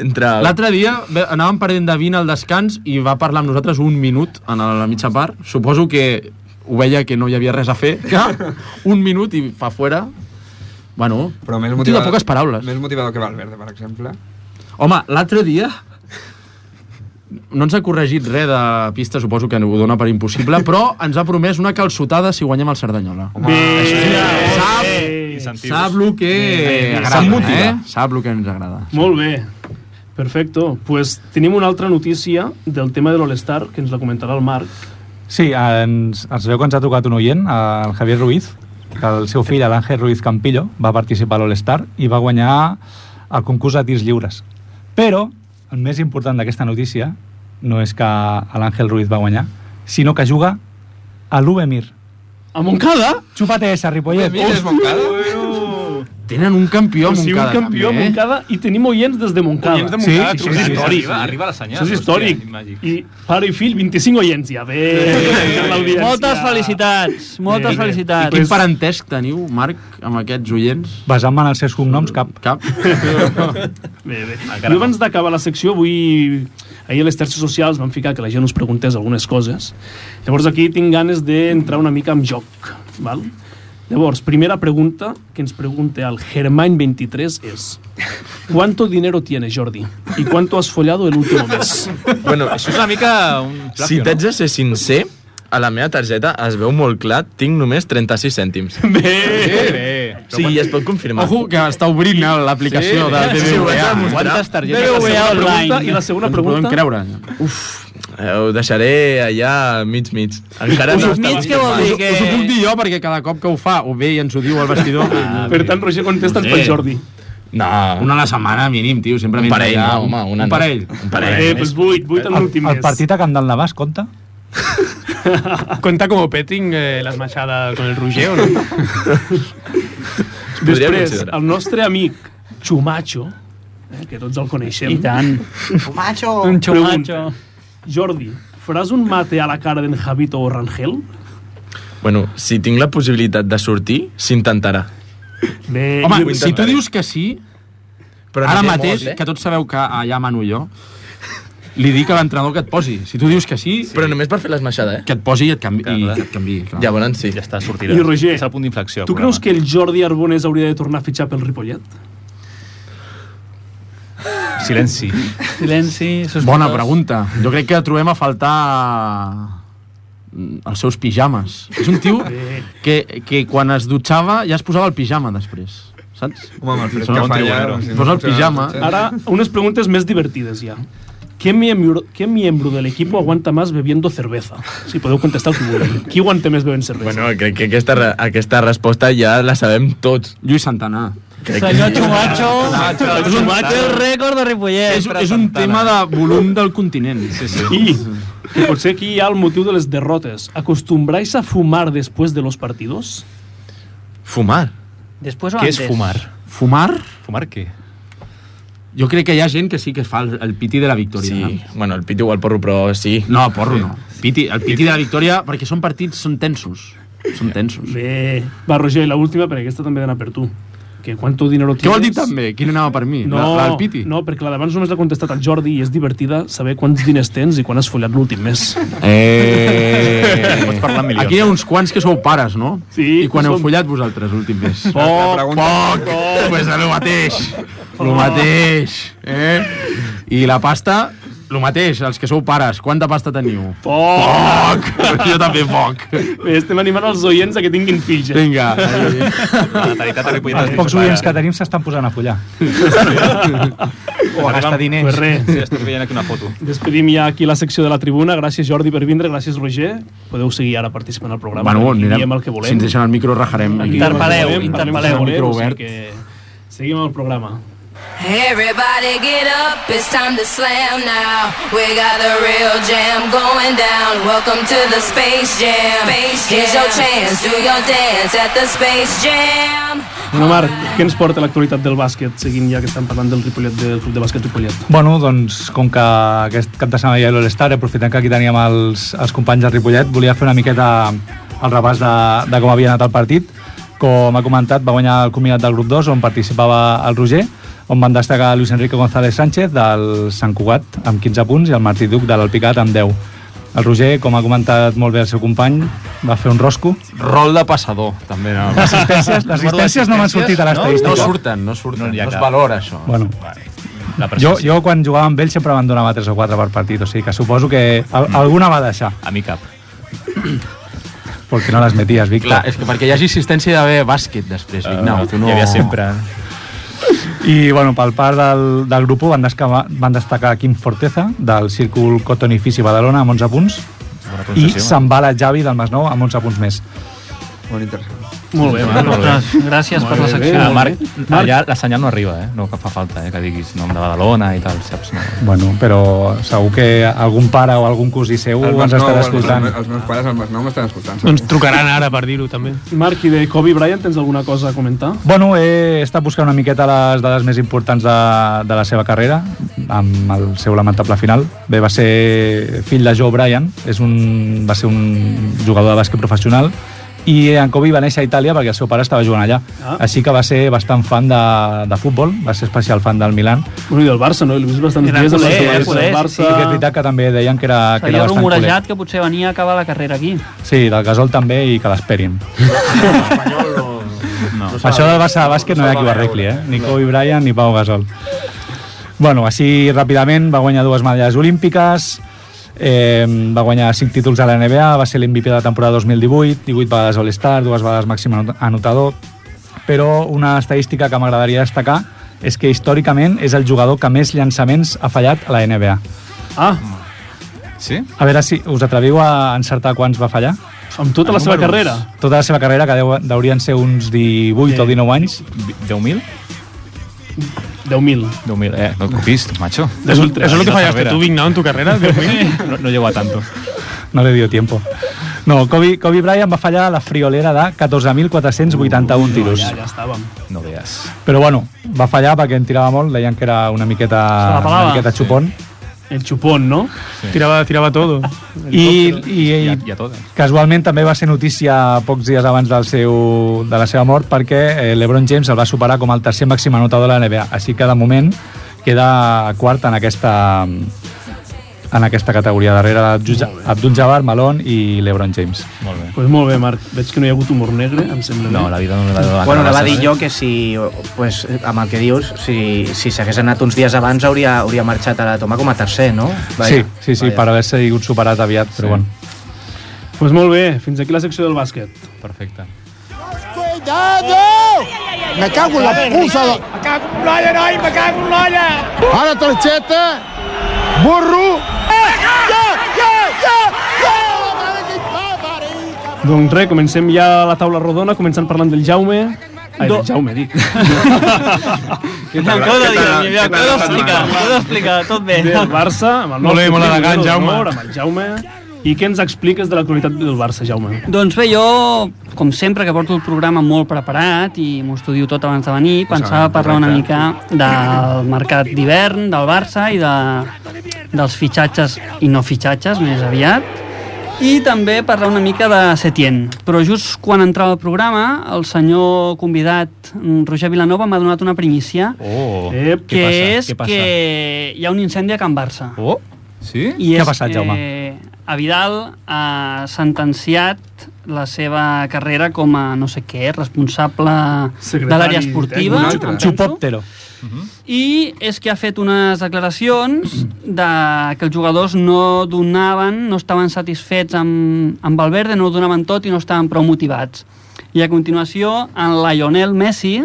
Speaker 11: Entre...
Speaker 10: L'altre dia ve- anàvem perdent de 20 al descans i va parlar amb nosaltres un minut en la mitja part. Suposo que ho veia que no hi havia res a fer. (laughs) un minut i fa fora. Bueno,
Speaker 1: Però més
Speaker 10: un tio de
Speaker 1: motivador-
Speaker 10: poques paraules.
Speaker 1: Més motivador que Valverde, per exemple.
Speaker 10: Home, l'altre dia no ens ha corregit res de pista, suposo que ho dona per impossible, però ens ha promès una calçotada si guanyem el Cerdanyola. Home,
Speaker 2: Incentius.
Speaker 10: sap el que
Speaker 2: Bé, bé. Sap
Speaker 10: agrada,
Speaker 2: motivar.
Speaker 10: eh? Sap el que ens agrada.
Speaker 2: Molt bé. Perfecto. Pues tenim una altra notícia del tema de l'All-Star, que ens la comentarà el Marc.
Speaker 9: Sí, ens, ens veu que ens ha tocat un oient, el Javier Ruiz, que el seu fill, l'Àngel Ruiz Campillo, va participar a l'All-Star i va guanyar el concurs de tirs lliures. Però, el més important d'aquesta notícia no és que l'Àngel Ruiz va guanyar, sinó que juga a l'Ubemir.
Speaker 2: A Montcada?
Speaker 9: Xupa't esa, Ripollet.
Speaker 10: Tenen un campió
Speaker 2: o sigui, un
Speaker 9: Montcada,
Speaker 2: campió
Speaker 9: també, eh?
Speaker 2: a Montcada i tenim oients des de Montcada.
Speaker 9: Oients de Montcada, Sí, trucant. sí, sí, sí. Arriba- arriba la senyal,
Speaker 2: Això és
Speaker 9: hòstia,
Speaker 2: històric. I pare i fill, 25 oients ja. Bé, l'audiència.
Speaker 7: (laughs) Moltes felicitats, moltes felicitats.
Speaker 10: I quin parentesc teniu, Marc, amb aquests oients?
Speaker 9: Basant-me en els seus cognoms, cap.
Speaker 10: Cap.
Speaker 2: Bé, bé. Jo abans d'acabar la secció, avui... Ahir a les xarxes socials van ficar que la gent us preguntés algunes coses. Llavors aquí tinc ganes d'entrar una mica en joc. Val? Llavors, primera pregunta que ens pregunta el Germany23 és ¿Cuánto dinero tienes, Jordi? ¿Y cuánto has follado el último
Speaker 11: (laughs)
Speaker 2: mes?
Speaker 11: Bueno, això és una mica un... Si t'haig de ser sincer, a la meva targeta es veu molt clar, tinc només 36 cèntims.
Speaker 2: Bé!
Speaker 11: Bé! Sí, i es pot confirmar.
Speaker 10: Ojo, que està obrint eh, l'aplicació
Speaker 11: Sí,
Speaker 10: del
Speaker 14: Ah,
Speaker 11: sí, ho vaig
Speaker 10: BBVA.
Speaker 11: demostrar.
Speaker 10: Quantes targetes?
Speaker 11: BBVA
Speaker 10: La segona
Speaker 11: online.
Speaker 10: pregunta
Speaker 11: I la segona
Speaker 10: ens ho
Speaker 11: pregunta?
Speaker 10: Podem creure.
Speaker 11: Eh, ho deixaré allà mig-mig. Encara no està confirmat.
Speaker 10: Us- Us ho puc dir jo, perquè cada cop que ho fa, o bé i ens ho diu al vestidor... Ah,
Speaker 2: Per tant, Roger,
Speaker 11: Ah,
Speaker 2: contesta'ns
Speaker 10: Sí.
Speaker 2: per Jordi.
Speaker 11: No.
Speaker 10: Una a la setmana, mínim, tio. Sempre
Speaker 11: Un
Speaker 10: vens
Speaker 11: parell,
Speaker 10: allà,
Speaker 11: no, home, una
Speaker 10: un
Speaker 11: no.
Speaker 10: parell.
Speaker 11: Un parell. Eh, doncs vuit, vuit en
Speaker 9: El,
Speaker 11: l'últim
Speaker 9: el
Speaker 11: mes.
Speaker 9: partit a Camp del Navàs, compte?
Speaker 13: ¿Cuenta como petting eh, la machada con el Roger
Speaker 7: (laughs)
Speaker 13: o no?
Speaker 2: Després,
Speaker 13: Podria
Speaker 2: considerar.
Speaker 13: considerar.
Speaker 2: el nostre amic Chumacho, eh, que tots el coneixem.
Speaker 7: I tant.
Speaker 2: Chumacho.
Speaker 7: Un chumacho.
Speaker 2: Jordi, faràs un mate a la cara d'en Javito o Rangel?
Speaker 11: Bueno, si tinc la possibilitat de sortir, s'intentarà.
Speaker 2: Bé,
Speaker 11: Home,
Speaker 10: Home, si tu dius que sí,
Speaker 11: Però
Speaker 10: eh. Però
Speaker 11: no
Speaker 10: ara
Speaker 11: té
Speaker 10: mateix,
Speaker 11: molts, eh?
Speaker 10: que tots sabeu que allà mano jo, li dic a l'entrenador que et posi. Si tu dius que sí...
Speaker 11: Però només per fer l'esmaixada, eh?
Speaker 10: Que et posi i et canvi. I que et canvi clar.
Speaker 11: Llavors sí. Ja està, sortirà.
Speaker 2: I Roger,
Speaker 15: és el punt d'inflexió.
Speaker 2: tu creus que el Jordi Arbonés hauria de tornar a fitxar pel Ripollet?
Speaker 15: Silenci.
Speaker 7: Silenci, sospitós.
Speaker 10: Bona pregunta. Jo crec que trobem a faltar mm, els seus
Speaker 7: (laughs)
Speaker 10: pijames. És un tio que, que quan es dutxava ja es posava el pijama després.
Speaker 14: saps?
Speaker 1: Home, amb el fred
Speaker 14: Són
Speaker 1: que
Speaker 14: un
Speaker 1: fa ja,
Speaker 14: triolero.
Speaker 1: si no
Speaker 14: Posa el
Speaker 1: funciona,
Speaker 14: pijama.
Speaker 2: Ahora, unas preguntas más divertidas ya. ¿Qué miembro, ¿Qué miembro del equipo aguanta más bebiendo cerveza? Si podeu contestar el que vulgueu. Qui aguanta més bevent cervesa?
Speaker 11: Bueno, crec que aquesta, re- aquesta resposta ja la sabem tots.
Speaker 14: Lluís Santana.
Speaker 7: Senyor Chumacho,
Speaker 11: (laughs)
Speaker 14: Chumacho.
Speaker 7: Chumacho el rècord de Ripollet.
Speaker 14: És, és un tema de volum del continent.
Speaker 11: Sí,
Speaker 2: I que potser aquí hi ha el motiu de les derrotes. Acostumbráis a fumar després de los partidos?
Speaker 11: Fumar?
Speaker 7: Després
Speaker 5: Què és fumar?
Speaker 14: Fumar?
Speaker 5: Fumar què?
Speaker 14: Jo crec que hi ha gent que sí que fa el, el piti de la victòria.
Speaker 11: Sí. Bueno, el piti o el porro, però sí.
Speaker 14: No, porro no. Piti, el piti de la victòria, perquè són partits, són tensos. Són tensos.
Speaker 2: Bé. Va, Roger, i l'última, perquè aquesta també ha d'anar per tu. Que quanto dinero tienes...
Speaker 14: Què vol dir també? Quina anava per mi?
Speaker 2: No,
Speaker 14: La, la del piti?
Speaker 2: no, perquè la d'abans només l'ha contestat el Jordi i és divertida saber quants diners tens i quan has follat
Speaker 14: (laughs)
Speaker 2: l'últim mes.
Speaker 14: Eh...
Speaker 2: (laughs) Pots parlar en milions.
Speaker 14: Aquí hi ha uns quants que sou pares, no?
Speaker 2: Sí,
Speaker 14: I quan
Speaker 2: som-
Speaker 14: heu follat vosaltres l'últim mes?
Speaker 2: Poc, La pregunta-
Speaker 14: poc, poc, pues el mateix. El mateix. Eh? I la pasta, el mateix, els que sou pares, quanta pasta teniu?
Speaker 2: Poc!
Speaker 14: Poc! (laughs) Jo també poc.
Speaker 2: Oh! Bé, estem animant els oients a que tinguin fills. Eh?
Speaker 14: Vinga.
Speaker 5: La natalitat a Ripollet...
Speaker 9: Els pocs oients que tenim s'estan posant a follar.
Speaker 4: eh?
Speaker 5: O a gastar diners.
Speaker 2: Pues res.
Speaker 5: Sí, estic veient aquí una foto.
Speaker 2: Despedim ja aquí la secció de la tribuna. Gràcies, Jordi, per vindre. Gràcies, Roger. Podeu seguir ara participant al programa.
Speaker 14: Bueno,
Speaker 2: Aquí
Speaker 14: anirem-
Speaker 2: diem el que volem.
Speaker 14: si ens deixen el micro, rajarem.
Speaker 2: Aquí
Speaker 14: Interpel·leu,
Speaker 2: volem,
Speaker 14: interpel·leu.
Speaker 2: volem,
Speaker 14: Micro
Speaker 2: o sigui
Speaker 14: obert.
Speaker 2: que Seguim amb el programa.
Speaker 16: Everybody get up, it's time to slam now. We got a real jam going down. Welcome to the Space Jam. Space Jam. Here's your chance, do your dance at the Space Jam.
Speaker 2: Bueno, Marc, què ens porta l'actualitat del bàsquet, seguint ja que estan parlant del Ripollet, del club de bàsquet Ripollet?
Speaker 9: Bueno, doncs, com que aquest cap de setmana hi ha l'All-Star, aprofitant que aquí teníem els, els companys de Ripollet, volia fer una miqueta el repàs de, de com havia anat el partit. Com ha comentat, va guanyar el combinat del grup 2, on participava el Roger, on van destacar Luis Enrique González Sánchez del Sant Cugat amb 15 punts i el Martí Duc de l'Alpicat amb 10. El Roger, com ha comentat molt bé el seu company, va fer un rosco.
Speaker 14: Rol de passador, també. No?
Speaker 9: Les assistències- les assistències no m'han sortit a l'estadística.
Speaker 14: No, no surten, no surten. No,
Speaker 9: hi ha
Speaker 14: no es
Speaker 9: cap.
Speaker 14: valora, això.
Speaker 9: Bueno,
Speaker 5: La
Speaker 9: jo, jo quan jugava amb ell sempre me'n donava 3 o 4 per partit, o sigui que suposo que al, alguna va deixar.
Speaker 5: A mi cap.
Speaker 9: Porque no las metías, Víctor.
Speaker 14: Clar, és que perquè hi hagi assistència hi ha d'haver bàsquet després, Vignau. tu no...
Speaker 9: hi havia
Speaker 5: eh?
Speaker 9: sempre. I bueno, pel part del, del grup u van, descava, van destacar Quim Forteza del Círcul Cotonifici Badalona amb 11 punts i
Speaker 5: eh?
Speaker 9: se'n va la Javi del Masnou amb 11 punts més.
Speaker 1: Molt interessant.
Speaker 2: Molt bé, Marc.
Speaker 9: Ostres, gràcies
Speaker 2: Molt per la bé, secció.
Speaker 5: Ah,
Speaker 2: molt
Speaker 5: Marc,
Speaker 2: bé.
Speaker 5: Marc, allà la senyal no arriba, eh? No que fa falta, eh? Que diguis nom de Badalona i tal, saps? No.
Speaker 9: Bueno, però segur que algun pare o algun cosí seu
Speaker 1: El
Speaker 9: ens
Speaker 1: Masnou,
Speaker 9: estarà
Speaker 1: els-
Speaker 9: escoltant.
Speaker 1: Els, els meus pares al Masnou m'estan escoltant.
Speaker 9: Doncs
Speaker 2: trucaran ara per dir-ho, també. Marc, i de Kobe Bryant tens alguna cosa a comentar?
Speaker 9: Bueno, he estat buscant una miqueta les dades més importants de, de la seva carrera, amb el seu lamentable final. Bé, va ser fill de Joe Bryan, és un, va ser un jugador de bàsquet professional, i en Kobe va néixer a Itàlia perquè el seu pare estava jugant allà. Ah.
Speaker 2: Ah.
Speaker 9: Així que va ser bastant fan de, de futbol, va ser especial fan del Milan.
Speaker 2: Bueno, i del Barça, no? Li vist bastants
Speaker 9: Era
Speaker 2: dies al
Speaker 9: culé,
Speaker 2: Barça.
Speaker 9: era culé,
Speaker 2: Barça.
Speaker 9: Sí, que és veritat que també deien que era, que
Speaker 7: S'havia
Speaker 9: era bastant culer.
Speaker 7: rumorejat que potser venia a acabar la carrera aquí.
Speaker 9: Sí, del Gasol també i que l'esperin. no. Això del Barça de bàsquet no hi ha qui ho arregli, eh? Ni Kobe Bryant ni Pau Gasol. Bueno, així ràpidament va guanyar dues medalles olímpiques, eh, va guanyar cinc títols a la NBA, va ser l'MVP de la temporada 2018, 18 vegades All-Star, dues vegades màxim anot- anotador, però una estadística que m'agradaria destacar és que històricament és el jugador que més llançaments ha fallat a la NBA.
Speaker 2: Ah,
Speaker 5: Sí?
Speaker 9: A veure si us atreviu a encertar quants va fallar.
Speaker 2: Amb tota la seva carrera?
Speaker 9: Tota la seva carrera, que deu, deurien ser uns 18 o 19 anys.
Speaker 5: 10.000?
Speaker 2: 10.000.
Speaker 5: 10.000, eh? No copis, macho.
Speaker 9: Es ultra.
Speaker 5: Eso
Speaker 9: Es lo que fallaste tú,
Speaker 5: Vignao, en tu carrera,
Speaker 9: 10.000.
Speaker 5: No, no llego a tanto.
Speaker 9: No le dio tiempo. No, Kobe, Kobe Bryant va fallar a la friolera de 14.481 tiros.
Speaker 2: Uh, Ja, ja estàvem.
Speaker 5: No veas.
Speaker 9: Però bueno, va fallar perquè en tirava molt, deien que era una miqueta,
Speaker 2: Se la pelava.
Speaker 9: una miqueta xupon.
Speaker 2: El xupón, no?
Speaker 9: Sí.
Speaker 2: Tirava, tirava todo.
Speaker 9: I, i, i,
Speaker 5: I a totes.
Speaker 9: Casualment també va ser notícia pocs dies abans del seu, de la seva mort perquè eh, LeBron James el va superar com el tercer màxim anotador de la NBA. Així que de moment queda quart en aquesta, en aquesta categoria, darrere d'Abdul- Abdul-Jabbar, Malone i LeBron James.
Speaker 5: Molt bé.
Speaker 2: Pues molt bé, Marc. Veig que no hi ha hagut humor negre, em sembla
Speaker 5: No,
Speaker 11: Ah.
Speaker 5: la vida no
Speaker 12: Bueno, la va
Speaker 4: eh?
Speaker 12: dir jo que si, pues, amb el que dius, si, si s'hagués anat uns dies abans hauria, hauria marxat a la toma com a tercer, no?
Speaker 9: sí, sí, sí per haver sigut superat aviat, però bueno.
Speaker 2: Pues molt bé, fins aquí la secció del bàsquet.
Speaker 5: Perfecte.
Speaker 3: ¡Cuidado!
Speaker 17: Me cago en la puça de...
Speaker 3: Me cago en l'olla, noi, me cago en l'olla!
Speaker 17: Ara targeta, burro...
Speaker 2: Doncs res, comencem ja la taula rodona, començant parlant del Jaume. Ai, del Jaume, dic.
Speaker 7: Què heu de dir, Emilià? Què heu d'explicar? Què heu d'explicar? Tot bé.
Speaker 2: Del Barça, amb el
Speaker 7: Molt bé,
Speaker 2: nostre
Speaker 7: molt
Speaker 2: primer
Speaker 7: elegant,
Speaker 2: d'honor,
Speaker 7: Jaume.
Speaker 2: Amb el Jaume. I què ens expliques de l'actualitat del Barça, Jaume?
Speaker 7: Doncs bé, jo, com sempre, que porto el programa molt preparat i m'ho estudio tot abans de venir, pensava parlar una mica del mercat d'hivern, del Barça i de, dels fitxatges i no fitxatges, més aviat, i també parlar una mica de Setien. Però just quan entrava el programa, el senyor convidat mm, Roger Vilanova m'ha donat una primícia,
Speaker 5: Oh,
Speaker 2: Eh?
Speaker 7: Ep,
Speaker 5: què
Speaker 7: que
Speaker 5: passa?
Speaker 7: és
Speaker 5: Què passa?
Speaker 7: que hi ha un incendi a Can Barça.
Speaker 5: Oh, sí?
Speaker 7: I
Speaker 5: Què
Speaker 7: és
Speaker 5: ha passat,
Speaker 7: que
Speaker 5: Jaume?
Speaker 7: a Vidal ha sentenciat la seva carrera com a no sé què, responsable de l'àrea esportiva. em penso.
Speaker 9: Xupòptero.
Speaker 7: I és que ha fet unes declaracions de que els jugadors no donaven, no estaven satisfets amb, amb Valverde, no ho donaven tot i no estaven prou motivats. I a continuació, en Lionel Messi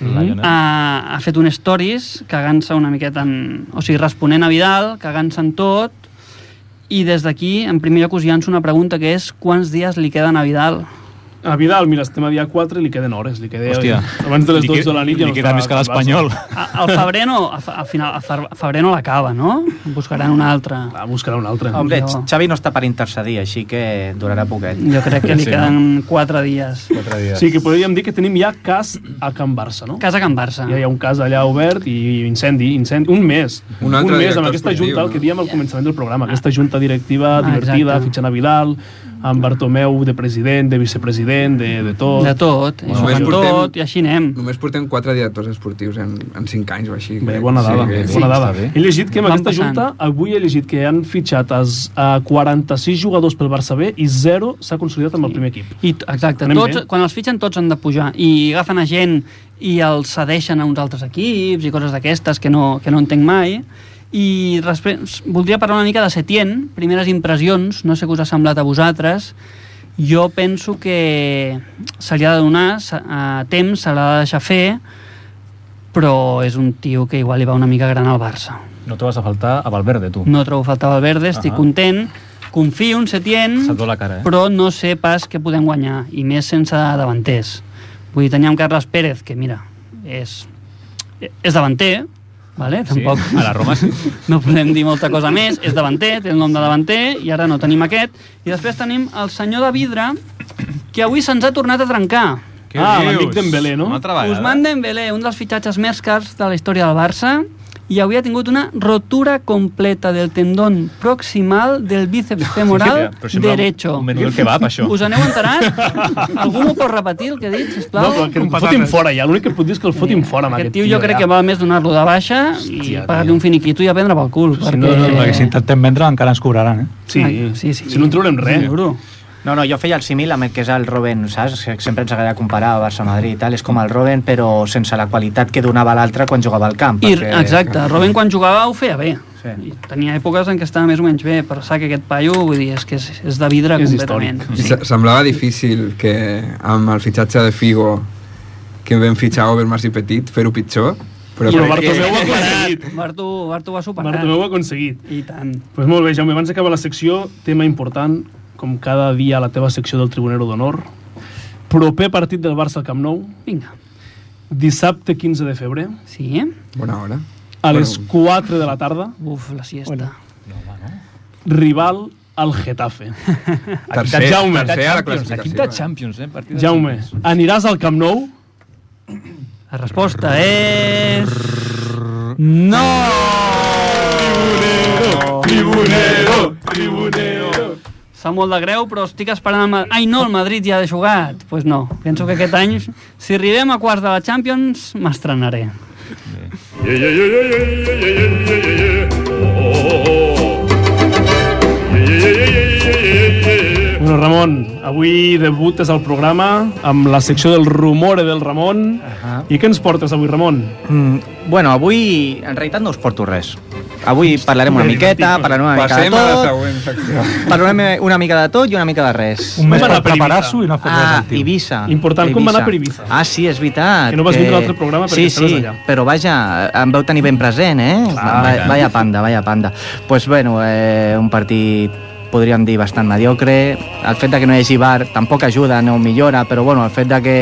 Speaker 2: Mm-hmm.
Speaker 5: Lionel.
Speaker 7: Eh, ha, ha fet un stories cagant-se una miqueta en... O sigui, responent a Vidal, cagant-se en tot, i des d'aquí, en primer lloc, us llanço una pregunta que és quants dies li queden a Vidal?
Speaker 2: A Vidal, mira, estem a dia 4 i li queden hores. Li queda
Speaker 5: Hòstia.
Speaker 2: Ah, eh, abans de les
Speaker 5: Li
Speaker 2: 12 de la nit.
Speaker 5: li
Speaker 2: no
Speaker 5: queda
Speaker 2: estarà
Speaker 5: més que
Speaker 2: al
Speaker 5: l'Espanyol.
Speaker 2: Barça.
Speaker 7: A- Al febrer no, a, fe- al final, a fer- a febrer no l'acaba, no? Buscaran una altra.
Speaker 2: Va, buscaran una altra.
Speaker 7: Hombre,
Speaker 12: Hombre, Xavi no està per intercedir, així que durarà poquet.
Speaker 7: Jo crec que li queden 4 dies.
Speaker 2: O sigui que podríem dir que tenim ja cas a Can Barça, no?
Speaker 7: Cas a Can Barça.
Speaker 2: Ah. Ja hi ha un cas allà obert i incendi, incendi, un mes.
Speaker 1: Un altre
Speaker 2: un mes
Speaker 1: director
Speaker 2: amb aquesta
Speaker 1: esportiu,
Speaker 2: junta, el que diem al començament del programa, aquesta junta directiva
Speaker 7: Ah,
Speaker 2: divertida,
Speaker 7: exacte.
Speaker 2: fitxant a Vidal, amb Bartomeu de president, de vicepresident, de, de tot.
Speaker 7: De tot, i jugant tot, i així anem.
Speaker 1: Només portem quatre directors esportius en, en cinc anys o així.
Speaker 2: Bé,
Speaker 1: crec.
Speaker 2: bona dada.
Speaker 1: que-
Speaker 2: bona dada. He llegit que amb
Speaker 1: Van
Speaker 2: aquesta
Speaker 1: passant.
Speaker 2: junta, avui he llegit que han fitxat as- a 46 jugadors pel Barça B i 0 s'ha consolidat amb el primer equip.
Speaker 7: I, exacte,
Speaker 2: Anem
Speaker 7: tots,
Speaker 2: bé.
Speaker 7: quan els fitxen tots han de pujar i agafen a gent i els cedeixen a uns altres equips i coses d'aquestes que, no, que no entenc mai i després voldria parlar una mica de Setien primeres impressions, no sé què us ha semblat a vosaltres jo penso que se li ha de donar se- eh, temps, se l'ha de deixar fer però és un tio que igual li va una mica gran al Barça
Speaker 5: No trobes a faltar a Valverde, tu.
Speaker 7: no trobo falta Valverde, estic
Speaker 5: Ahà.
Speaker 7: content confio en Setien
Speaker 5: Se't veu la cara, eh?
Speaker 7: però no sé pas què podem guanyar, i més sense davanters. Vull dir, teníem Carles Pérez, que mira, és, és davanter, vale? tampoc...
Speaker 5: a la Roma sí.
Speaker 7: (laughs) No podem dir molta cosa més, és davanter, té el nom de davanter, i ara no tenim aquest. I després tenim el senyor de vidre, que avui se'ns ha tornat a trencar.
Speaker 2: Què Ah, dius? l'amic Dembélé, no? Una altra vegada.
Speaker 7: Usman Dembélé, un dels fitxatges més cars de la història del Barça, i avui ha tingut una rotura completa del tendón proximal del bíceps femoral
Speaker 5: Sí, però sembla un-
Speaker 7: derecho.
Speaker 5: un menudo kebab, això.
Speaker 7: Us aneu enterat? Algú m'ho pot repetir, el que he dit, sisplau?
Speaker 2: No, però que el fotin fora ja, l'únic que puc dir és que el fotin fora amb
Speaker 7: Aquest
Speaker 2: aquest
Speaker 7: tio jo crec que val més donar-lo de baixa i pagar-li un finiquito i a prendre pel cul. Ah,
Speaker 9: Si no,
Speaker 5: Eh.
Speaker 9: no, perquè si intentem vendre encara ens cobraran, eh?
Speaker 2: Sí,
Speaker 7: sí, sí.
Speaker 2: Si no en traurem res.
Speaker 12: No, no, jo feia el símil amb el que és el Robben, saps? Que Sempre ens agrada comparar Barça-Madrid i tal, és com el Robben, però sense la qualitat que donava l'altre quan jugava al camp.
Speaker 7: I, exacte, Robben quan jugava ho feia bé. Sí. Tenia èpoques en què estava més o menys bé, però sap que aquest paio, vull dir, és que és, és de vidre completament.
Speaker 1: I se- Semblava difícil que amb el fitxatge de Figo que vam fitxar Overmars i Petit, fer-ho pitjor. Però,
Speaker 2: Però
Speaker 1: crec
Speaker 2: Bartomeu ho ha
Speaker 1: que...
Speaker 2: aconseguit.
Speaker 7: Bartu, Bartu ho ha superat.
Speaker 2: Bartomeu ho ha aconseguit.
Speaker 7: I tant.
Speaker 2: Doncs pues molt bé, Jaume, abans d'acabar la secció, tema important, com cada dia a la teva secció del Tribunero d'Honor, proper partit del Barça al Camp Nou.
Speaker 7: Vinga.
Speaker 2: Dissabte 15 de febrer.
Speaker 7: Sí. eh?
Speaker 1: Bona hora.
Speaker 2: A les 4 de la tarda.
Speaker 7: Uf, la siesta. Bueno.
Speaker 2: Rival al Getafe.
Speaker 5: Tercer-
Speaker 2: Jaume.
Speaker 5: tercer a la classificació. Equip de Champions, eh? Partit de
Speaker 2: Jaume,
Speaker 5: Champions.
Speaker 2: aniràs al Camp Nou?
Speaker 7: La resposta és...
Speaker 2: No!
Speaker 3: Tribunero,
Speaker 7: Sap molt de greu, però estic esperant... El... Ma- Ai, no, el Madrid ja ha jugat. Doncs pues no, penso que aquest any, si arribem a quarts de la Champions, m'estrenaré.
Speaker 2: Bueno, Ramon, avui debutes al programa amb la secció del rumore del Ramon. I què ens portes avui, Ramon?
Speaker 12: Mm, bueno, avui en realitat no us porto res. Avui parlarem una miqueta, parlarem una mica de
Speaker 1: Passem a la
Speaker 12: tot,
Speaker 1: següent secció.
Speaker 12: parlarem una mica de tot i una mica de res.
Speaker 9: Un mes per preparar-s'ho i no fer res
Speaker 12: Ah,
Speaker 9: al tio.
Speaker 12: Ibiza.
Speaker 2: Important, com va anar per Ibiza?
Speaker 12: Ah, sí, és veritat.
Speaker 2: Que no vas vindre a l'altre programa
Speaker 12: sí,
Speaker 2: perquè estaves
Speaker 12: sí,
Speaker 2: allà.
Speaker 12: però vaja, em vau tenir ben present, eh? Va,
Speaker 2: i tant.
Speaker 12: vaya panda, vaya panda. Doncs pues, bueno, eh, un partit podríem dir bastant mediocre. El fet de que no hi hagi bar tampoc ajuda, no ho millora, però bueno, el fet de que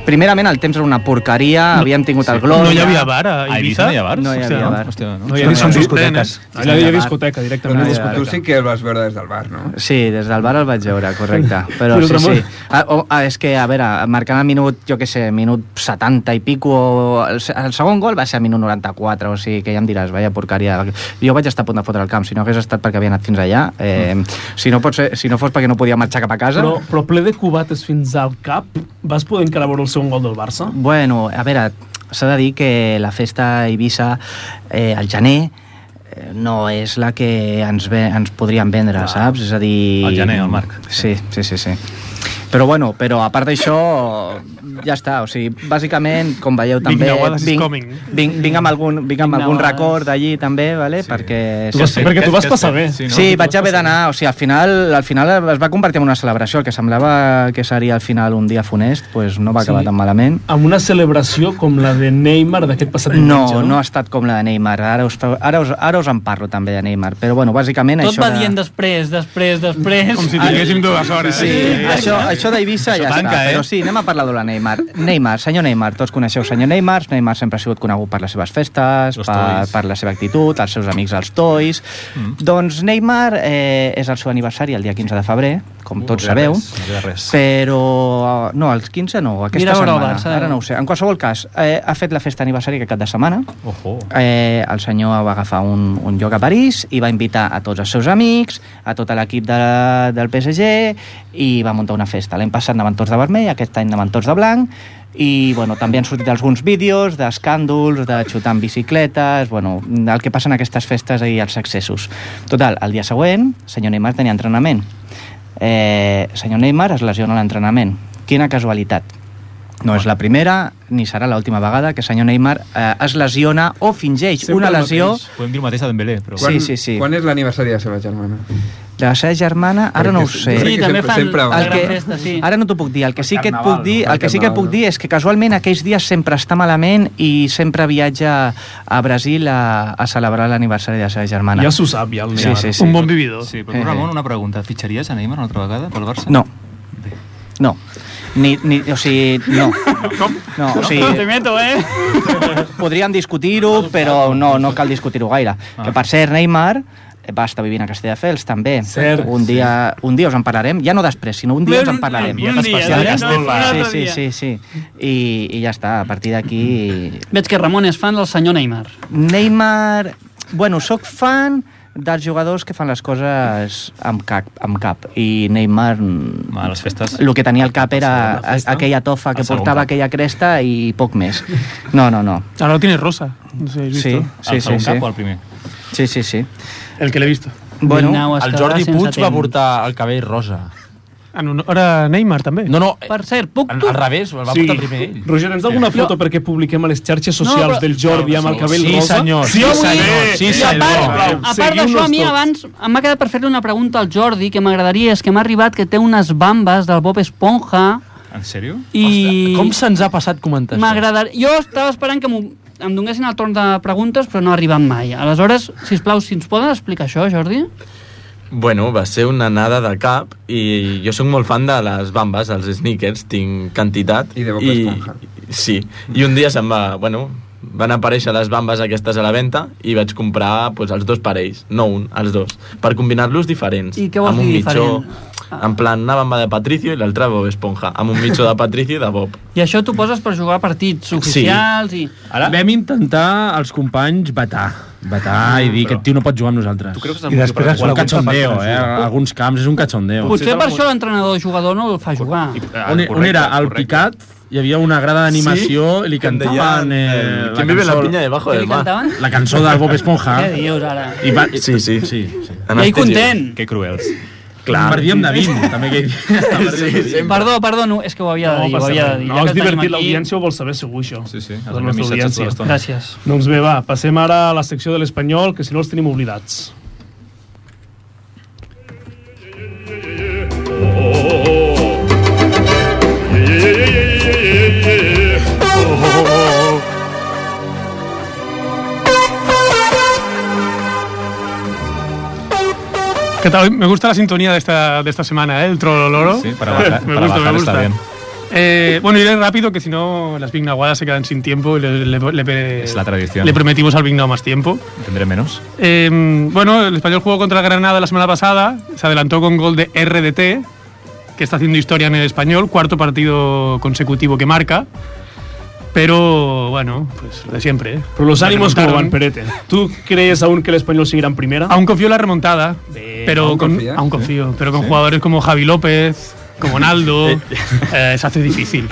Speaker 12: Primerament, el temps era una porqueria, no, havíem tingut el Gloria...
Speaker 6: No hi havia
Speaker 13: ¿eh?
Speaker 6: bar a Ibiza?
Speaker 12: No hi havia bar.
Speaker 2: Allà hi havia discoteca, directament.
Speaker 12: Allà hi
Speaker 1: Tu
Speaker 12: havia
Speaker 1: sí que el vas veure des del bar, no?
Speaker 12: Sí, des del bar el vaig veure,
Speaker 1: (laughs)
Speaker 12: correcte. Però
Speaker 1: I el
Speaker 12: sí,
Speaker 1: Ramon?
Speaker 12: sí. Ah, o, ah, és que, a veure, marcant el minut, jo què sé, minut 70 i pico, o el, se- el segon gol va ser a minut 94, o sigui que ja em diràs, vaya porqueria. Jo vaig estar a punt de fotre el camp, si no hagués estat perquè havia anat fins allà, eh,
Speaker 1: Mm.
Speaker 12: si, no pot ser, si no fos perquè no podia marxar cap a casa...
Speaker 2: Però, però ple de cubates fins al cap, vas poder encara veure el segon gol del Barça?
Speaker 12: Bueno, a veure, s'ha de dir que la festa a Eivissa eh, al gener eh, no és la que ens, ve, ens podrien vendre, saps? És a dir...
Speaker 5: Al gener, al Marc.
Speaker 12: Sí, sí, sí, sí. Però bueno, però a part d'això, ja està. O sigui, bàsicament, com veieu també...
Speaker 6: Nahuales is
Speaker 12: vinc,
Speaker 6: coming.
Speaker 12: vinc, vinc amb algun, vinc amb
Speaker 6: Big
Speaker 12: algun
Speaker 6: Nahuales.
Speaker 12: record d'allí també, vale? Sí. perquè...
Speaker 2: Tu vas-
Speaker 12: sí,
Speaker 2: perquè
Speaker 12: sí.
Speaker 2: tu vas passar bé.
Speaker 12: Sí, no? sí vaig haver d'anar, o sigui, al final, al final es va convertir en una celebració, el que semblava que seria al final un dia funest, pues no va acabar
Speaker 2: Sí.
Speaker 12: tan malament.
Speaker 2: Amb una celebració com la de Neymar d'aquest passat
Speaker 12: No,
Speaker 2: diumenge,
Speaker 12: no ha estat com la de Neymar. Ara us, ara us, ara us en parlo també de Neymar. Però bueno, bàsicament
Speaker 7: Tot
Speaker 12: això...
Speaker 7: va
Speaker 12: de-
Speaker 7: dient després, després, després...
Speaker 12: Com si tinguéssim dues hores. Ah, Sí,
Speaker 13: ¿eh?
Speaker 12: això, això d'Eivissa ja
Speaker 7: tanca,
Speaker 12: està.
Speaker 7: eh?
Speaker 12: Però sí, anem a parlar de la Neymar. Neymar, senyor Neymar, tots coneixeu senyor Neymar. Neymar sempre ha sigut conegut per les seves festes, per,
Speaker 5: toys.
Speaker 12: per la seva actitud, els seus amics els tois. Mm. Doncs Neymar eh, és el seu aniversari el dia 15 de febrer, com tots
Speaker 5: no queda
Speaker 12: sabeu.
Speaker 5: res, no queda res.
Speaker 12: Però... eh, No, els 15 no, aquesta
Speaker 7: Mira a veure el
Speaker 12: setmana.
Speaker 7: Barça, eh?
Speaker 12: Ara no ho sé. En qualsevol cas, eh, ha fet la festa aniversari aquest cap de setmana.
Speaker 5: Ojo.
Speaker 12: Eh, el senyor va agafar un, un lloc a París i va invitar a tots els seus amics, a tot l'equip de, del PSG i va muntar una festa. L'any passat anaven tots de vermell, aquest any anaven tots de blanc i bueno, també han sortit alguns vídeos d'escàndols, de xutar amb bicicletes, bueno, el que passa en aquestes festes i els excessos. Total, el dia següent, senyor Neymar tenia entrenament. Eh, senyor Neymar es lesiona a l'entrenament. Quina casualitat. No és la primera ni serà l'última vegada que senyor Neymar eh, es lesiona o fingeix Sempre una lesió
Speaker 5: Podem dir el mateix a Dembélé, però...
Speaker 12: Sí, sí, sí.
Speaker 1: Quan és l'aniversari de la seva germana?
Speaker 12: de la seva germana, ara
Speaker 1: Perquè
Speaker 12: no ho
Speaker 1: sí,
Speaker 12: sé.
Speaker 1: jo crec que sempre- sempre va.
Speaker 12: el que,
Speaker 1: Gran
Speaker 7: festa, sí.
Speaker 12: Ara no t'ho puc dir, el que sí que et
Speaker 1: Carnaval,
Speaker 12: puc dir,
Speaker 1: no?
Speaker 12: el que sí que et puc dir és que casualment aquells dies sempre està malament i sempre viatja a Brasil a, a celebrar l'aniversari de la seva germana.
Speaker 2: Ja s'ho sap, ja, el
Speaker 12: sí,
Speaker 2: Neymar.
Speaker 12: sí, sí.
Speaker 2: Un bon vividor.
Speaker 14: eh,
Speaker 5: Sí, però Ramon, una pregunta. Fitxaries a Neymar una altra vegada pel Barça?
Speaker 12: No. No. Ni, ni, o sigui, no. Com? No, o sigui,
Speaker 7: Te meto, eh?
Speaker 12: podríem discutir-ho, però no, no cal discutir-ho gaire. Que per cert, Neymar va estar vivint a Castelldefels també.
Speaker 2: Cert.
Speaker 12: un, dia, un dia us en parlarem, ja no després, sinó un dia us en parlarem.
Speaker 7: Un dia, un dia,
Speaker 12: Especial
Speaker 7: un dia,
Speaker 12: Castelldefels.
Speaker 7: no, un
Speaker 12: Sí,
Speaker 7: altre
Speaker 12: sí, sí, sí. I, I ja està, a partir d'aquí...
Speaker 7: Veig que Ramon és fan del senyor Neymar.
Speaker 12: Neymar... Bueno, sóc fan dels jugadors que fan les coses amb cap, amb cap. i Neymar mm,
Speaker 5: A les festes...
Speaker 12: el que tenia al cap era a- aquella tofa que
Speaker 5: El segon
Speaker 12: portava
Speaker 5: cap.
Speaker 12: aquella cresta i poc
Speaker 13: (laughs)
Speaker 12: més. No, no, no.
Speaker 6: Ahora lo tienes rosa. No sé, ¿has
Speaker 12: Sí,
Speaker 6: visto?
Speaker 12: sí, sí, sí.
Speaker 5: primer?
Speaker 12: Sí, sí, sí.
Speaker 6: El que l'he vist.
Speaker 12: Bueno,
Speaker 14: el Jordi Puig va portar el cabell rosa.
Speaker 6: En honor a Neymar, també.
Speaker 14: No, no,
Speaker 7: Per cert, puc
Speaker 14: al,
Speaker 7: tu...
Speaker 14: al revés, el va portar primer
Speaker 10: eh.
Speaker 14: ell.
Speaker 2: Roger, tens alguna foto perquè publiquem a les xarxes socials
Speaker 7: No, però-
Speaker 2: del Jordi amb el cabell
Speaker 14: Sí,
Speaker 2: rosa?
Speaker 14: senyor,
Speaker 2: Sí,
Speaker 14: sí,
Speaker 2: avui-
Speaker 14: senyor, sí,
Speaker 2: I a part-
Speaker 14: senyor.
Speaker 2: sisplau,
Speaker 7: A part d'això,
Speaker 2: seguiu-nos
Speaker 7: a mi
Speaker 2: tots.
Speaker 7: abans m'ha quedat per fer-li una pregunta al Jordi que m'agradaria, és que m'ha arribat que té unes bambes del Bob Esponja
Speaker 5: En sèrio?
Speaker 7: i...
Speaker 14: Com se'ns ha passat comentar això?
Speaker 7: M'agradaria... Jo estava esperant que m'ho- em donguessin el torn de preguntes, però no ha arribat mai. Aleshores, si plau, si ens poden explicar això, Jordi?
Speaker 11: Bueno, va ser una anada de cap i jo sóc molt fan de les bambes, els sneakers, tinc quantitat. I de Bob Esponja. Sí, i un dia se'm va... Bueno, van aparèixer les bambes aquestes a la venda i vaig comprar pues, els dos parells, no un, els dos, per combinar-los diferents.
Speaker 7: I què vols
Speaker 11: amb un
Speaker 7: dir
Speaker 11: mitjó, En plan, una bamba de Patricio i l'altra Bob Esponja, amb un mitjó de Patricio i de Bob.
Speaker 7: I això t'ho poses per jugar a partits oficials sí. i...
Speaker 14: Ara? Vam intentar els companys vetar. Vetar i dir que aquest tio no pot jugar amb nosaltres. Tu
Speaker 5: és el I motiu després per
Speaker 14: és
Speaker 5: jugar?
Speaker 14: un
Speaker 5: alguns
Speaker 14: cachondeo,
Speaker 5: fan
Speaker 14: eh?
Speaker 5: fans.
Speaker 14: Alguns camps és un cachondeo.
Speaker 7: Potser per això l'entrenador jugador no el fa jugar.
Speaker 11: Ah,
Speaker 14: On, on era? Al picat hi havia una grada d'animació
Speaker 11: Sí,
Speaker 14: i li
Speaker 11: que en
Speaker 14: cantaven...
Speaker 11: deien,
Speaker 14: Eh,
Speaker 11: eh, ¿Quién vive la
Speaker 14: cançó-
Speaker 11: piña debajo del mar?
Speaker 14: La cançó del Bob Esponja.
Speaker 7: Què dius ara?
Speaker 14: I va,
Speaker 11: Sí, sí. sí.
Speaker 14: Anestèsia.
Speaker 7: content.
Speaker 5: Que cruels.
Speaker 11: Clar.
Speaker 14: Perdíem de 20, també que
Speaker 11: Sí, sí.
Speaker 7: Perdó, perdó, no, és que ho havia de dir. ho havia de dir.
Speaker 2: No,
Speaker 7: Ja que el
Speaker 2: és
Speaker 7: tenim
Speaker 2: divertit,
Speaker 7: aquí-
Speaker 2: l'audiència ho vol saber segur, això. Sí, sí.
Speaker 5: enviem missatges tota l'estona.
Speaker 7: Gràcies.
Speaker 2: Doncs bé, va, passem ara a la secció de l'Espanyol, que si no els tenim oblidats.
Speaker 13: ¿Qué tal? Me gusta la sintonía de esta, de esta semana, ¿eh? El Trololoro.
Speaker 5: Sí, para bajar-
Speaker 13: me
Speaker 5: para
Speaker 13: gusta,
Speaker 5: bajar
Speaker 13: me
Speaker 5: está
Speaker 13: gusta.
Speaker 5: bien.
Speaker 13: Eh, bueno, iré rápido, que si no las Big Nahuadas se quedan sin tiempo y le, le- le-
Speaker 5: Es la tradición.
Speaker 13: le prometimos al Big Now más tiempo.
Speaker 5: Tendré menos.
Speaker 13: Eh, bueno, el español jugó contra el Granada la semana pasada, se adelantó con gol de RDT, que está haciendo historia en el español, cuarto partido consecutivo que marca. Pero bueno, pues lo de siempre. ¿eh?
Speaker 2: Però los
Speaker 13: La
Speaker 2: ánimos com
Speaker 13: remontaron.
Speaker 2: van, Perete? Tu crees aún que l'Espanyol seguirà en primera?
Speaker 13: Aún confío en la remontada, pero
Speaker 2: Eh, aún
Speaker 13: con,
Speaker 2: confías,
Speaker 13: aún
Speaker 2: sí.
Speaker 13: confío, pero con
Speaker 2: Sí.
Speaker 13: jugadores como Javi López, como Naldo,
Speaker 2: (laughs)
Speaker 13: eh, se hace difícil.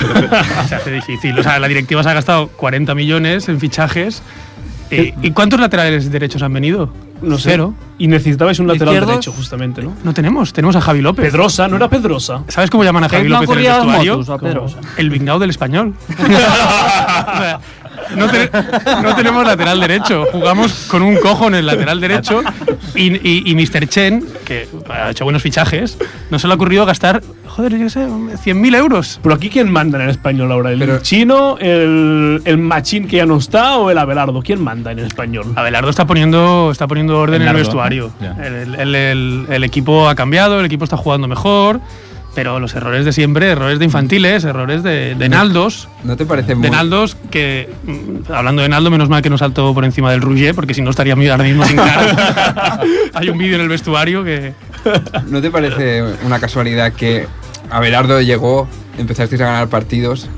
Speaker 13: se hace difícil. O sea, la directiva se ha gastado 40 millones en fichajes. Eh, ¿Y cuántos laterales derechos han venido?
Speaker 2: No sé.
Speaker 13: Cero.
Speaker 2: Y necesitabais un lateral
Speaker 13: ¿Izquierdos?
Speaker 2: derecho, justamente, ¿no?
Speaker 13: No tenemos, tenemos a Javi López.
Speaker 2: Pedrosa, ¿no era Pedrosa?
Speaker 13: ¿Sabes cómo llaman a Javi
Speaker 2: Él no
Speaker 13: López en el
Speaker 2: corría las
Speaker 13: vestuario?
Speaker 2: motos, a Pedrosa.
Speaker 13: Como El Bingao del
Speaker 2: (laughs)
Speaker 13: español. No, te- no tenemos lateral derecho. Jugamos con un cojo en el lateral derecho y, y, y Mr. Chen, que ha hecho buenos fichajes, no se le ha ocurrido gastar, joder, yo qué sé, 100.000 euros.
Speaker 2: Pero aquí, ¿quién manda en el español ahora? ¿El chino, el, el machín que ya no está o el Abelardo? ¿Quién manda en el español?
Speaker 13: Abelardo está poniendo, está poniendo orden en el
Speaker 2: Lardo,
Speaker 13: vestuario.
Speaker 2: ¿no? Ya.
Speaker 13: El, el- el- el equipo ha cambiado, el equipo está jugando mejor, pero los errores de siempre, errores de infantiles, errores de, de Naldos.
Speaker 1: ¿No te parece
Speaker 13: De Naldos, que mm, hablando de Naldo, menos mal que no saltó por encima del Rouget, porque si no estaría mío ahora mismo sin cara. Hay un vídeo en el vestuario que.
Speaker 1: ¿No te parece una casualidad que Abelardo llegó, empezasteis a ganar partidos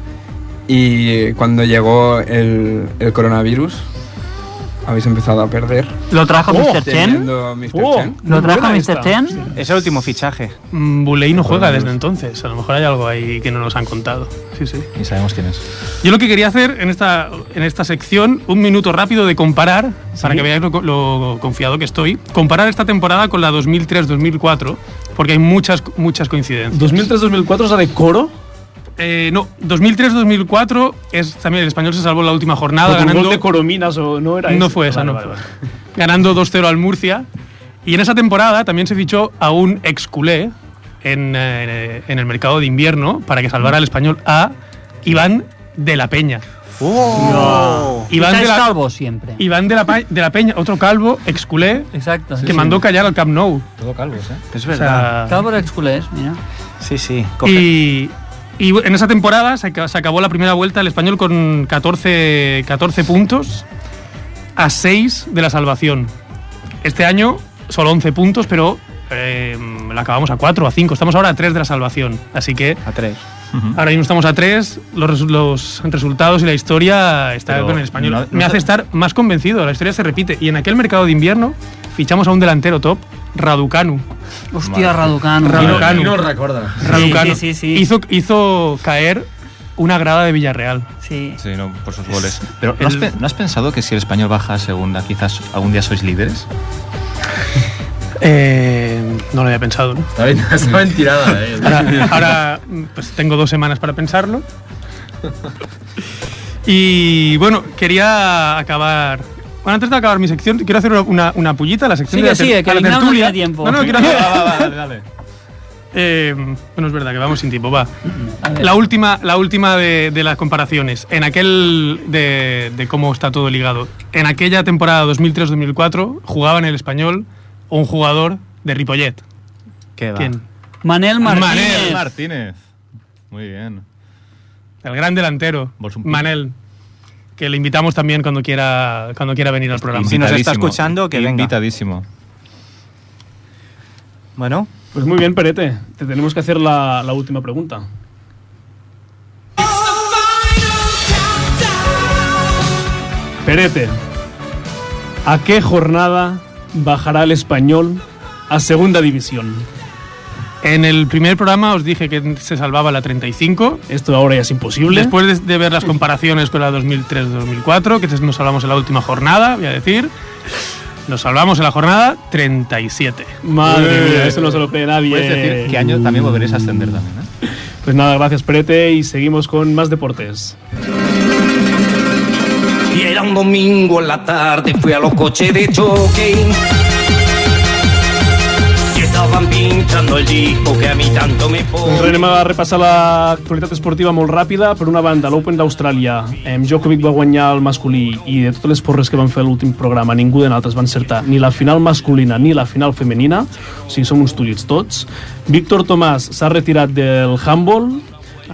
Speaker 1: y cuando llegó el, el coronavirus habéis empezado a perder?
Speaker 7: ¿Lo trajo Mr. Chen?
Speaker 1: Teniendo Mr.
Speaker 2: Oh.
Speaker 1: Chen.
Speaker 7: Oh, ¿Lo trajo Mr. Chen?
Speaker 13: Es el último fichaje. Mm, Buley no juega desde entonces. A lo mejor hay algo ahí que no nos han contado. Sí, sí.
Speaker 5: Y sabemos quién es.
Speaker 13: Yo lo que quería hacer en esta, en esta sección, un minuto rápido de comparar, para que veáis lo, co- lo confiado que estoy, comparar esta temporada con la 2003-2004, porque hay muchas, muchas coincidencias.
Speaker 2: ¿2003-2004 es la de Coro?
Speaker 13: Eh, no, 2003-2004 es también el español se salvó en la última jornada
Speaker 2: Porque un
Speaker 13: ganando
Speaker 2: gol de Corominas o no era
Speaker 13: No
Speaker 2: ese.
Speaker 13: fue esa,
Speaker 2: Vale,
Speaker 13: no
Speaker 2: vale,
Speaker 13: fue.
Speaker 2: vale.
Speaker 13: ganando 2-0 al Murcia. Y en esa temporada también se fichó a un ex culé en, eh, en el mercado de invierno para que salvara al español a Iván de la Peña. Iván
Speaker 7: Fichajes
Speaker 13: de la,
Speaker 7: calvos siempre.
Speaker 13: Iván de la, Pa- de la Peña, otro calvo, ex culé,
Speaker 7: Exacto.
Speaker 13: que
Speaker 7: Sí, sí.
Speaker 13: mandó callar al Camp Nou.
Speaker 5: Todo calvos, ¿eh?
Speaker 13: Es verdad.
Speaker 7: Calvo era exculés, mira.
Speaker 13: Sí, sí. Y, y en esa temporada se, aca- se acabó la primera vuelta el español con 14, 14 puntos a 6 de la salvación. Este año solo 11 puntos, pero eh, la acabamos a 4, a 5. Estamos ahora a 3 de la salvación. Así que. A 3. Ahora mismo estamos a 3. Los, resu- los resultados y la historia está
Speaker 5: Pero
Speaker 13: con el español.
Speaker 5: no- no
Speaker 13: Me
Speaker 5: te-
Speaker 13: hace estar más convencido. La historia se repite. Y en aquel mercado de invierno fichamos a un delantero top, Raducanu.
Speaker 7: Hòstia, Raducanu.
Speaker 13: Raducanu.
Speaker 7: No el recorda. Sí,
Speaker 13: Raducanu.
Speaker 7: sí, sí, sí.
Speaker 13: Hizo, hizo caer una grada de Villarreal.
Speaker 7: Sí.
Speaker 5: Sí, no, por sus goles. Pero ¿no has, pe- no has pensado que si el español baja a segunda, quizás algún día sois líderes?
Speaker 13: Eh, no lo había pensado. ¿no?
Speaker 5: Está bien- (laughs) está bien tirada, eh.
Speaker 13: Ahora, ahora, mm, pues tengo dos semanas para pensarlo. Y bueno, quería acabar. Bueno, antes de acabar mi sección, quiero hacer una, una, una pullita a la sección
Speaker 7: Sigue,
Speaker 13: de la, ter-
Speaker 7: sigue, que
Speaker 13: a la
Speaker 7: el Ignau no
Speaker 13: tertulia.
Speaker 7: tiene tiempo.
Speaker 13: No, no,
Speaker 9: (laughs)
Speaker 13: quiero
Speaker 7: Va, va, va, dale,
Speaker 13: Eh, bueno, es verdad que vamos sin tiempo, va. La última, la última de, de las comparaciones. En aquel. De, de cómo está todo ligado. En aquella temporada 2003-2004 jugaba en el español un jugador de Ripollet.
Speaker 5: ¿Qué
Speaker 13: ¿Quién?
Speaker 7: Manel
Speaker 5: Manel
Speaker 7: Martínez.
Speaker 5: Martínez. Muy bien.
Speaker 13: El gran delantero,
Speaker 5: Vols un pic?
Speaker 13: Manel, que le invitamos también cuando quiera, cuando quiera venir al programa.
Speaker 5: Invitadísimo, Invitadísimo.
Speaker 2: Bueno. Pues muy bien, Perete. Te tenemos que hacer la, la última pregunta. Perete, ¿a qué jornada bajará el español a segunda división?
Speaker 13: En el primer programa os dije que se salvaba la 35.
Speaker 2: Esto ahora ya es imposible.
Speaker 13: Después de, de ver las comparaciones con la 2003-2004, que nos hablamos en la última jornada, voy a decir. Nos salvamos en la jornada 37. Eh.
Speaker 2: Madre mía, eso no se lo cree nadie.
Speaker 13: Puedes decir que año
Speaker 2: también volveréis a ascender también,
Speaker 5: ¿eh?
Speaker 2: Pues nada, gracias Prete y seguimos con más deportes.
Speaker 18: Y era un domingo en la tarde, fui a los coches de choque. Y estaban pinchando el disco que a mí tanto me
Speaker 2: Doncs
Speaker 18: pone.
Speaker 2: Renem a repassar l'actualitat esportiva molt ràpida. Per una banda, l'Open d'Austràlia. Em, Djokovic va guanyar el masculí i de totes les porres que van fer a l'últim programa ningú de nosaltres va encertar ni la final masculina ni la final femenina. O sigui, som uns tullits tots. Víctor Tomàs s'ha retirat del handball.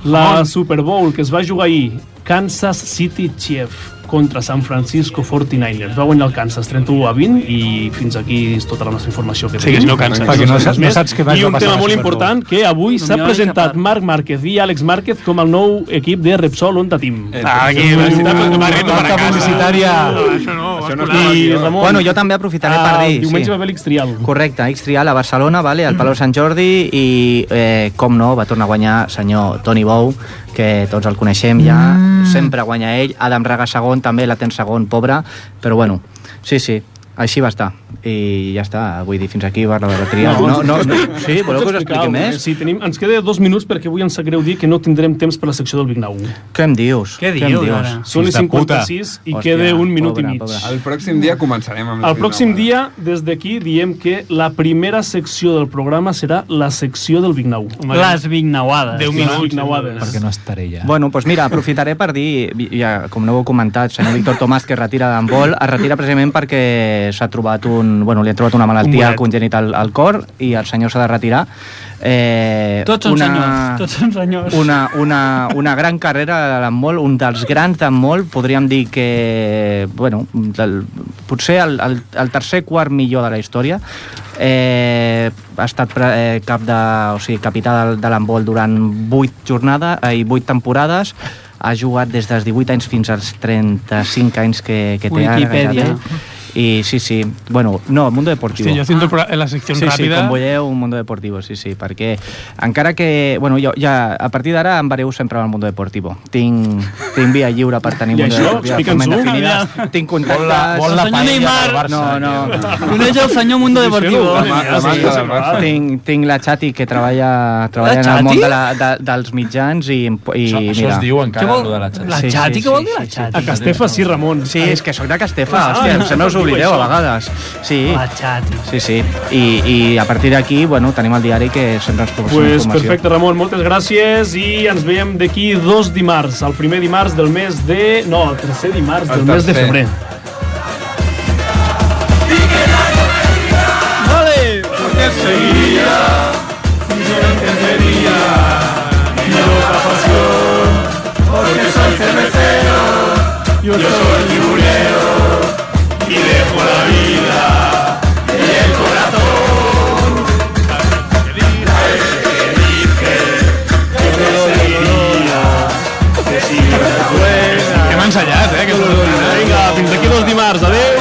Speaker 2: La Super Bowl que es va jugar ahir, Kansas City Chiefs contra San Francisco 49ers. Va guanyar el Kansas 31 a 20 i fins aquí és tota la nostra informació que
Speaker 13: Sí, que si no, Kansas. Perquè no saps- no saps què va
Speaker 2: I un
Speaker 13: passar a
Speaker 2: tema
Speaker 13: la
Speaker 2: molt
Speaker 13: Super Bowl.
Speaker 2: important, que avui
Speaker 13: No
Speaker 12: Doncs
Speaker 2: s'ha
Speaker 13: m'hi vaig
Speaker 2: presentat Marc Márquez i Àlex Márquez com el nou equip de Repsol Onda Team.
Speaker 13: Ah, aquí, publicitat, Marquito para casa.
Speaker 2: No,
Speaker 13: això no.
Speaker 2: Això
Speaker 13: no
Speaker 2: I, Ramon,
Speaker 12: bueno, jo també aprofitaré
Speaker 2: ah,
Speaker 12: per dir...
Speaker 2: Diumenge va haver l'Ixtrial.
Speaker 12: Correcte, a Xtrial a Barcelona, vale, al Palau Sant Jordi i, eh, com no, va tornar a guanyar senyor Toni Bou, que tots el coneixem ja, sempre guanya ell, Adam Raga segon, també la tens segon, pobre, però bueno, sí, sí, així va estar. I ja està, vull dir, fins aquí va la bateria. No, no, no, sí, voleu que us expliqui més?
Speaker 2: eh? Sí, tenim, ens queda dos minuts perquè avui em sap greu dir que no tindrem temps per la secció del Big Now.
Speaker 12: Què em dius?
Speaker 2: Què dius, ara? Són les 56 i queda un minut i mig.
Speaker 1: El pròxim dia començarem amb
Speaker 2: El pròxim dia, des d'aquí, diem que la primera secció del programa serà la secció del Big Now.
Speaker 7: Les bignauades.
Speaker 2: Déu Les bignauades.
Speaker 12: Perquè no estaré ja. Bueno, doncs mira, aprofitaré per dir, ja, com no ho heu comentat, senyor Víctor Tomàs, que es retira d'handbol, es retira precisament perquè s'ha trobat un... Bueno, li ha trobat una malaltia
Speaker 7: Un bolet.
Speaker 12: congènita al, al cor i el senyor s'ha de retirar. Eh,
Speaker 7: Tots són senyors, tots són senyors.
Speaker 12: Una, una, una gran carrera de l'handbol, un dels grans d'handbol, podríem dir que, bueno, del, potser el, el, el tercer quart millor de la història. Eh, ha estat pre- eh, cap de, o sigui, capità de, de l'handbol durant 8 jornades eh, i 8 temporades ha jugat des dels 18 anys fins als 35 anys que, que té ara.
Speaker 13: Wikipedia.
Speaker 12: gairebé. I sí, sí. Bueno, no, Mundo Deportivo.
Speaker 13: Hòstia, jo siento pro- en la sección
Speaker 12: sí, Sí,
Speaker 13: rápida.
Speaker 12: com veieu, un Mundo Deportivo, sí, sí, perquè encara que... Bueno, jo, ja, a partir d'ara em vareu sempre al Mundo Deportivo. Tinc, tinc via lliure per tenir
Speaker 7: I
Speaker 12: Mundo
Speaker 7: això?
Speaker 12: Deportivo. de forma
Speaker 7: Explica'ns-ho.
Speaker 12: indefinida. Tinc contactes...
Speaker 7: Vol la- vol la El senyor paella Neymar. del Barça,
Speaker 12: No, no.
Speaker 7: Coneix el senyor Mundo Deportivo. La ma- la marca del Barça.
Speaker 12: tinc, tinc la Xati que treballa, treballa en
Speaker 7: Xati?
Speaker 12: el món de la, de, dels mitjans i, em- i
Speaker 7: Això- això
Speaker 12: mira.
Speaker 7: es diu encara, Què vol- lo de la Xati. la Xati, què vol dir la Xati?
Speaker 12: A Castefa
Speaker 2: sí, Ramon.
Speaker 12: Sí, és que sóc de Castefa,
Speaker 7: Ah,
Speaker 12: hòstia,
Speaker 7: no,
Speaker 12: se me us
Speaker 7: no diu
Speaker 12: oblideu a
Speaker 7: això. Ah.
Speaker 12: vegades. Sí.
Speaker 7: La Xati.
Speaker 12: Sí, sí. I, i a partir d'aquí, bueno, tenim el diari que sempre ens proporciona
Speaker 2: Pues
Speaker 12: informació.
Speaker 2: perfecte, Ramon, moltes gràcies i ens veiem d'aquí dos dimarts, el primer dimarts del mes de... No, el tercer dimarts
Speaker 12: El
Speaker 2: del mes de
Speaker 12: tercer.
Speaker 2: febrer.
Speaker 3: Vale, porque seguía, yo no entendería mi loca pasión, porque soy cervecero, yo soy tiburero y dejo la vida y el corazón. A ese que dije que te seguiría, que si no fuera.
Speaker 13: Que m'ha ensenyat, eh? Que Vinga,
Speaker 2: fins aquí dos dimarts. Adéu!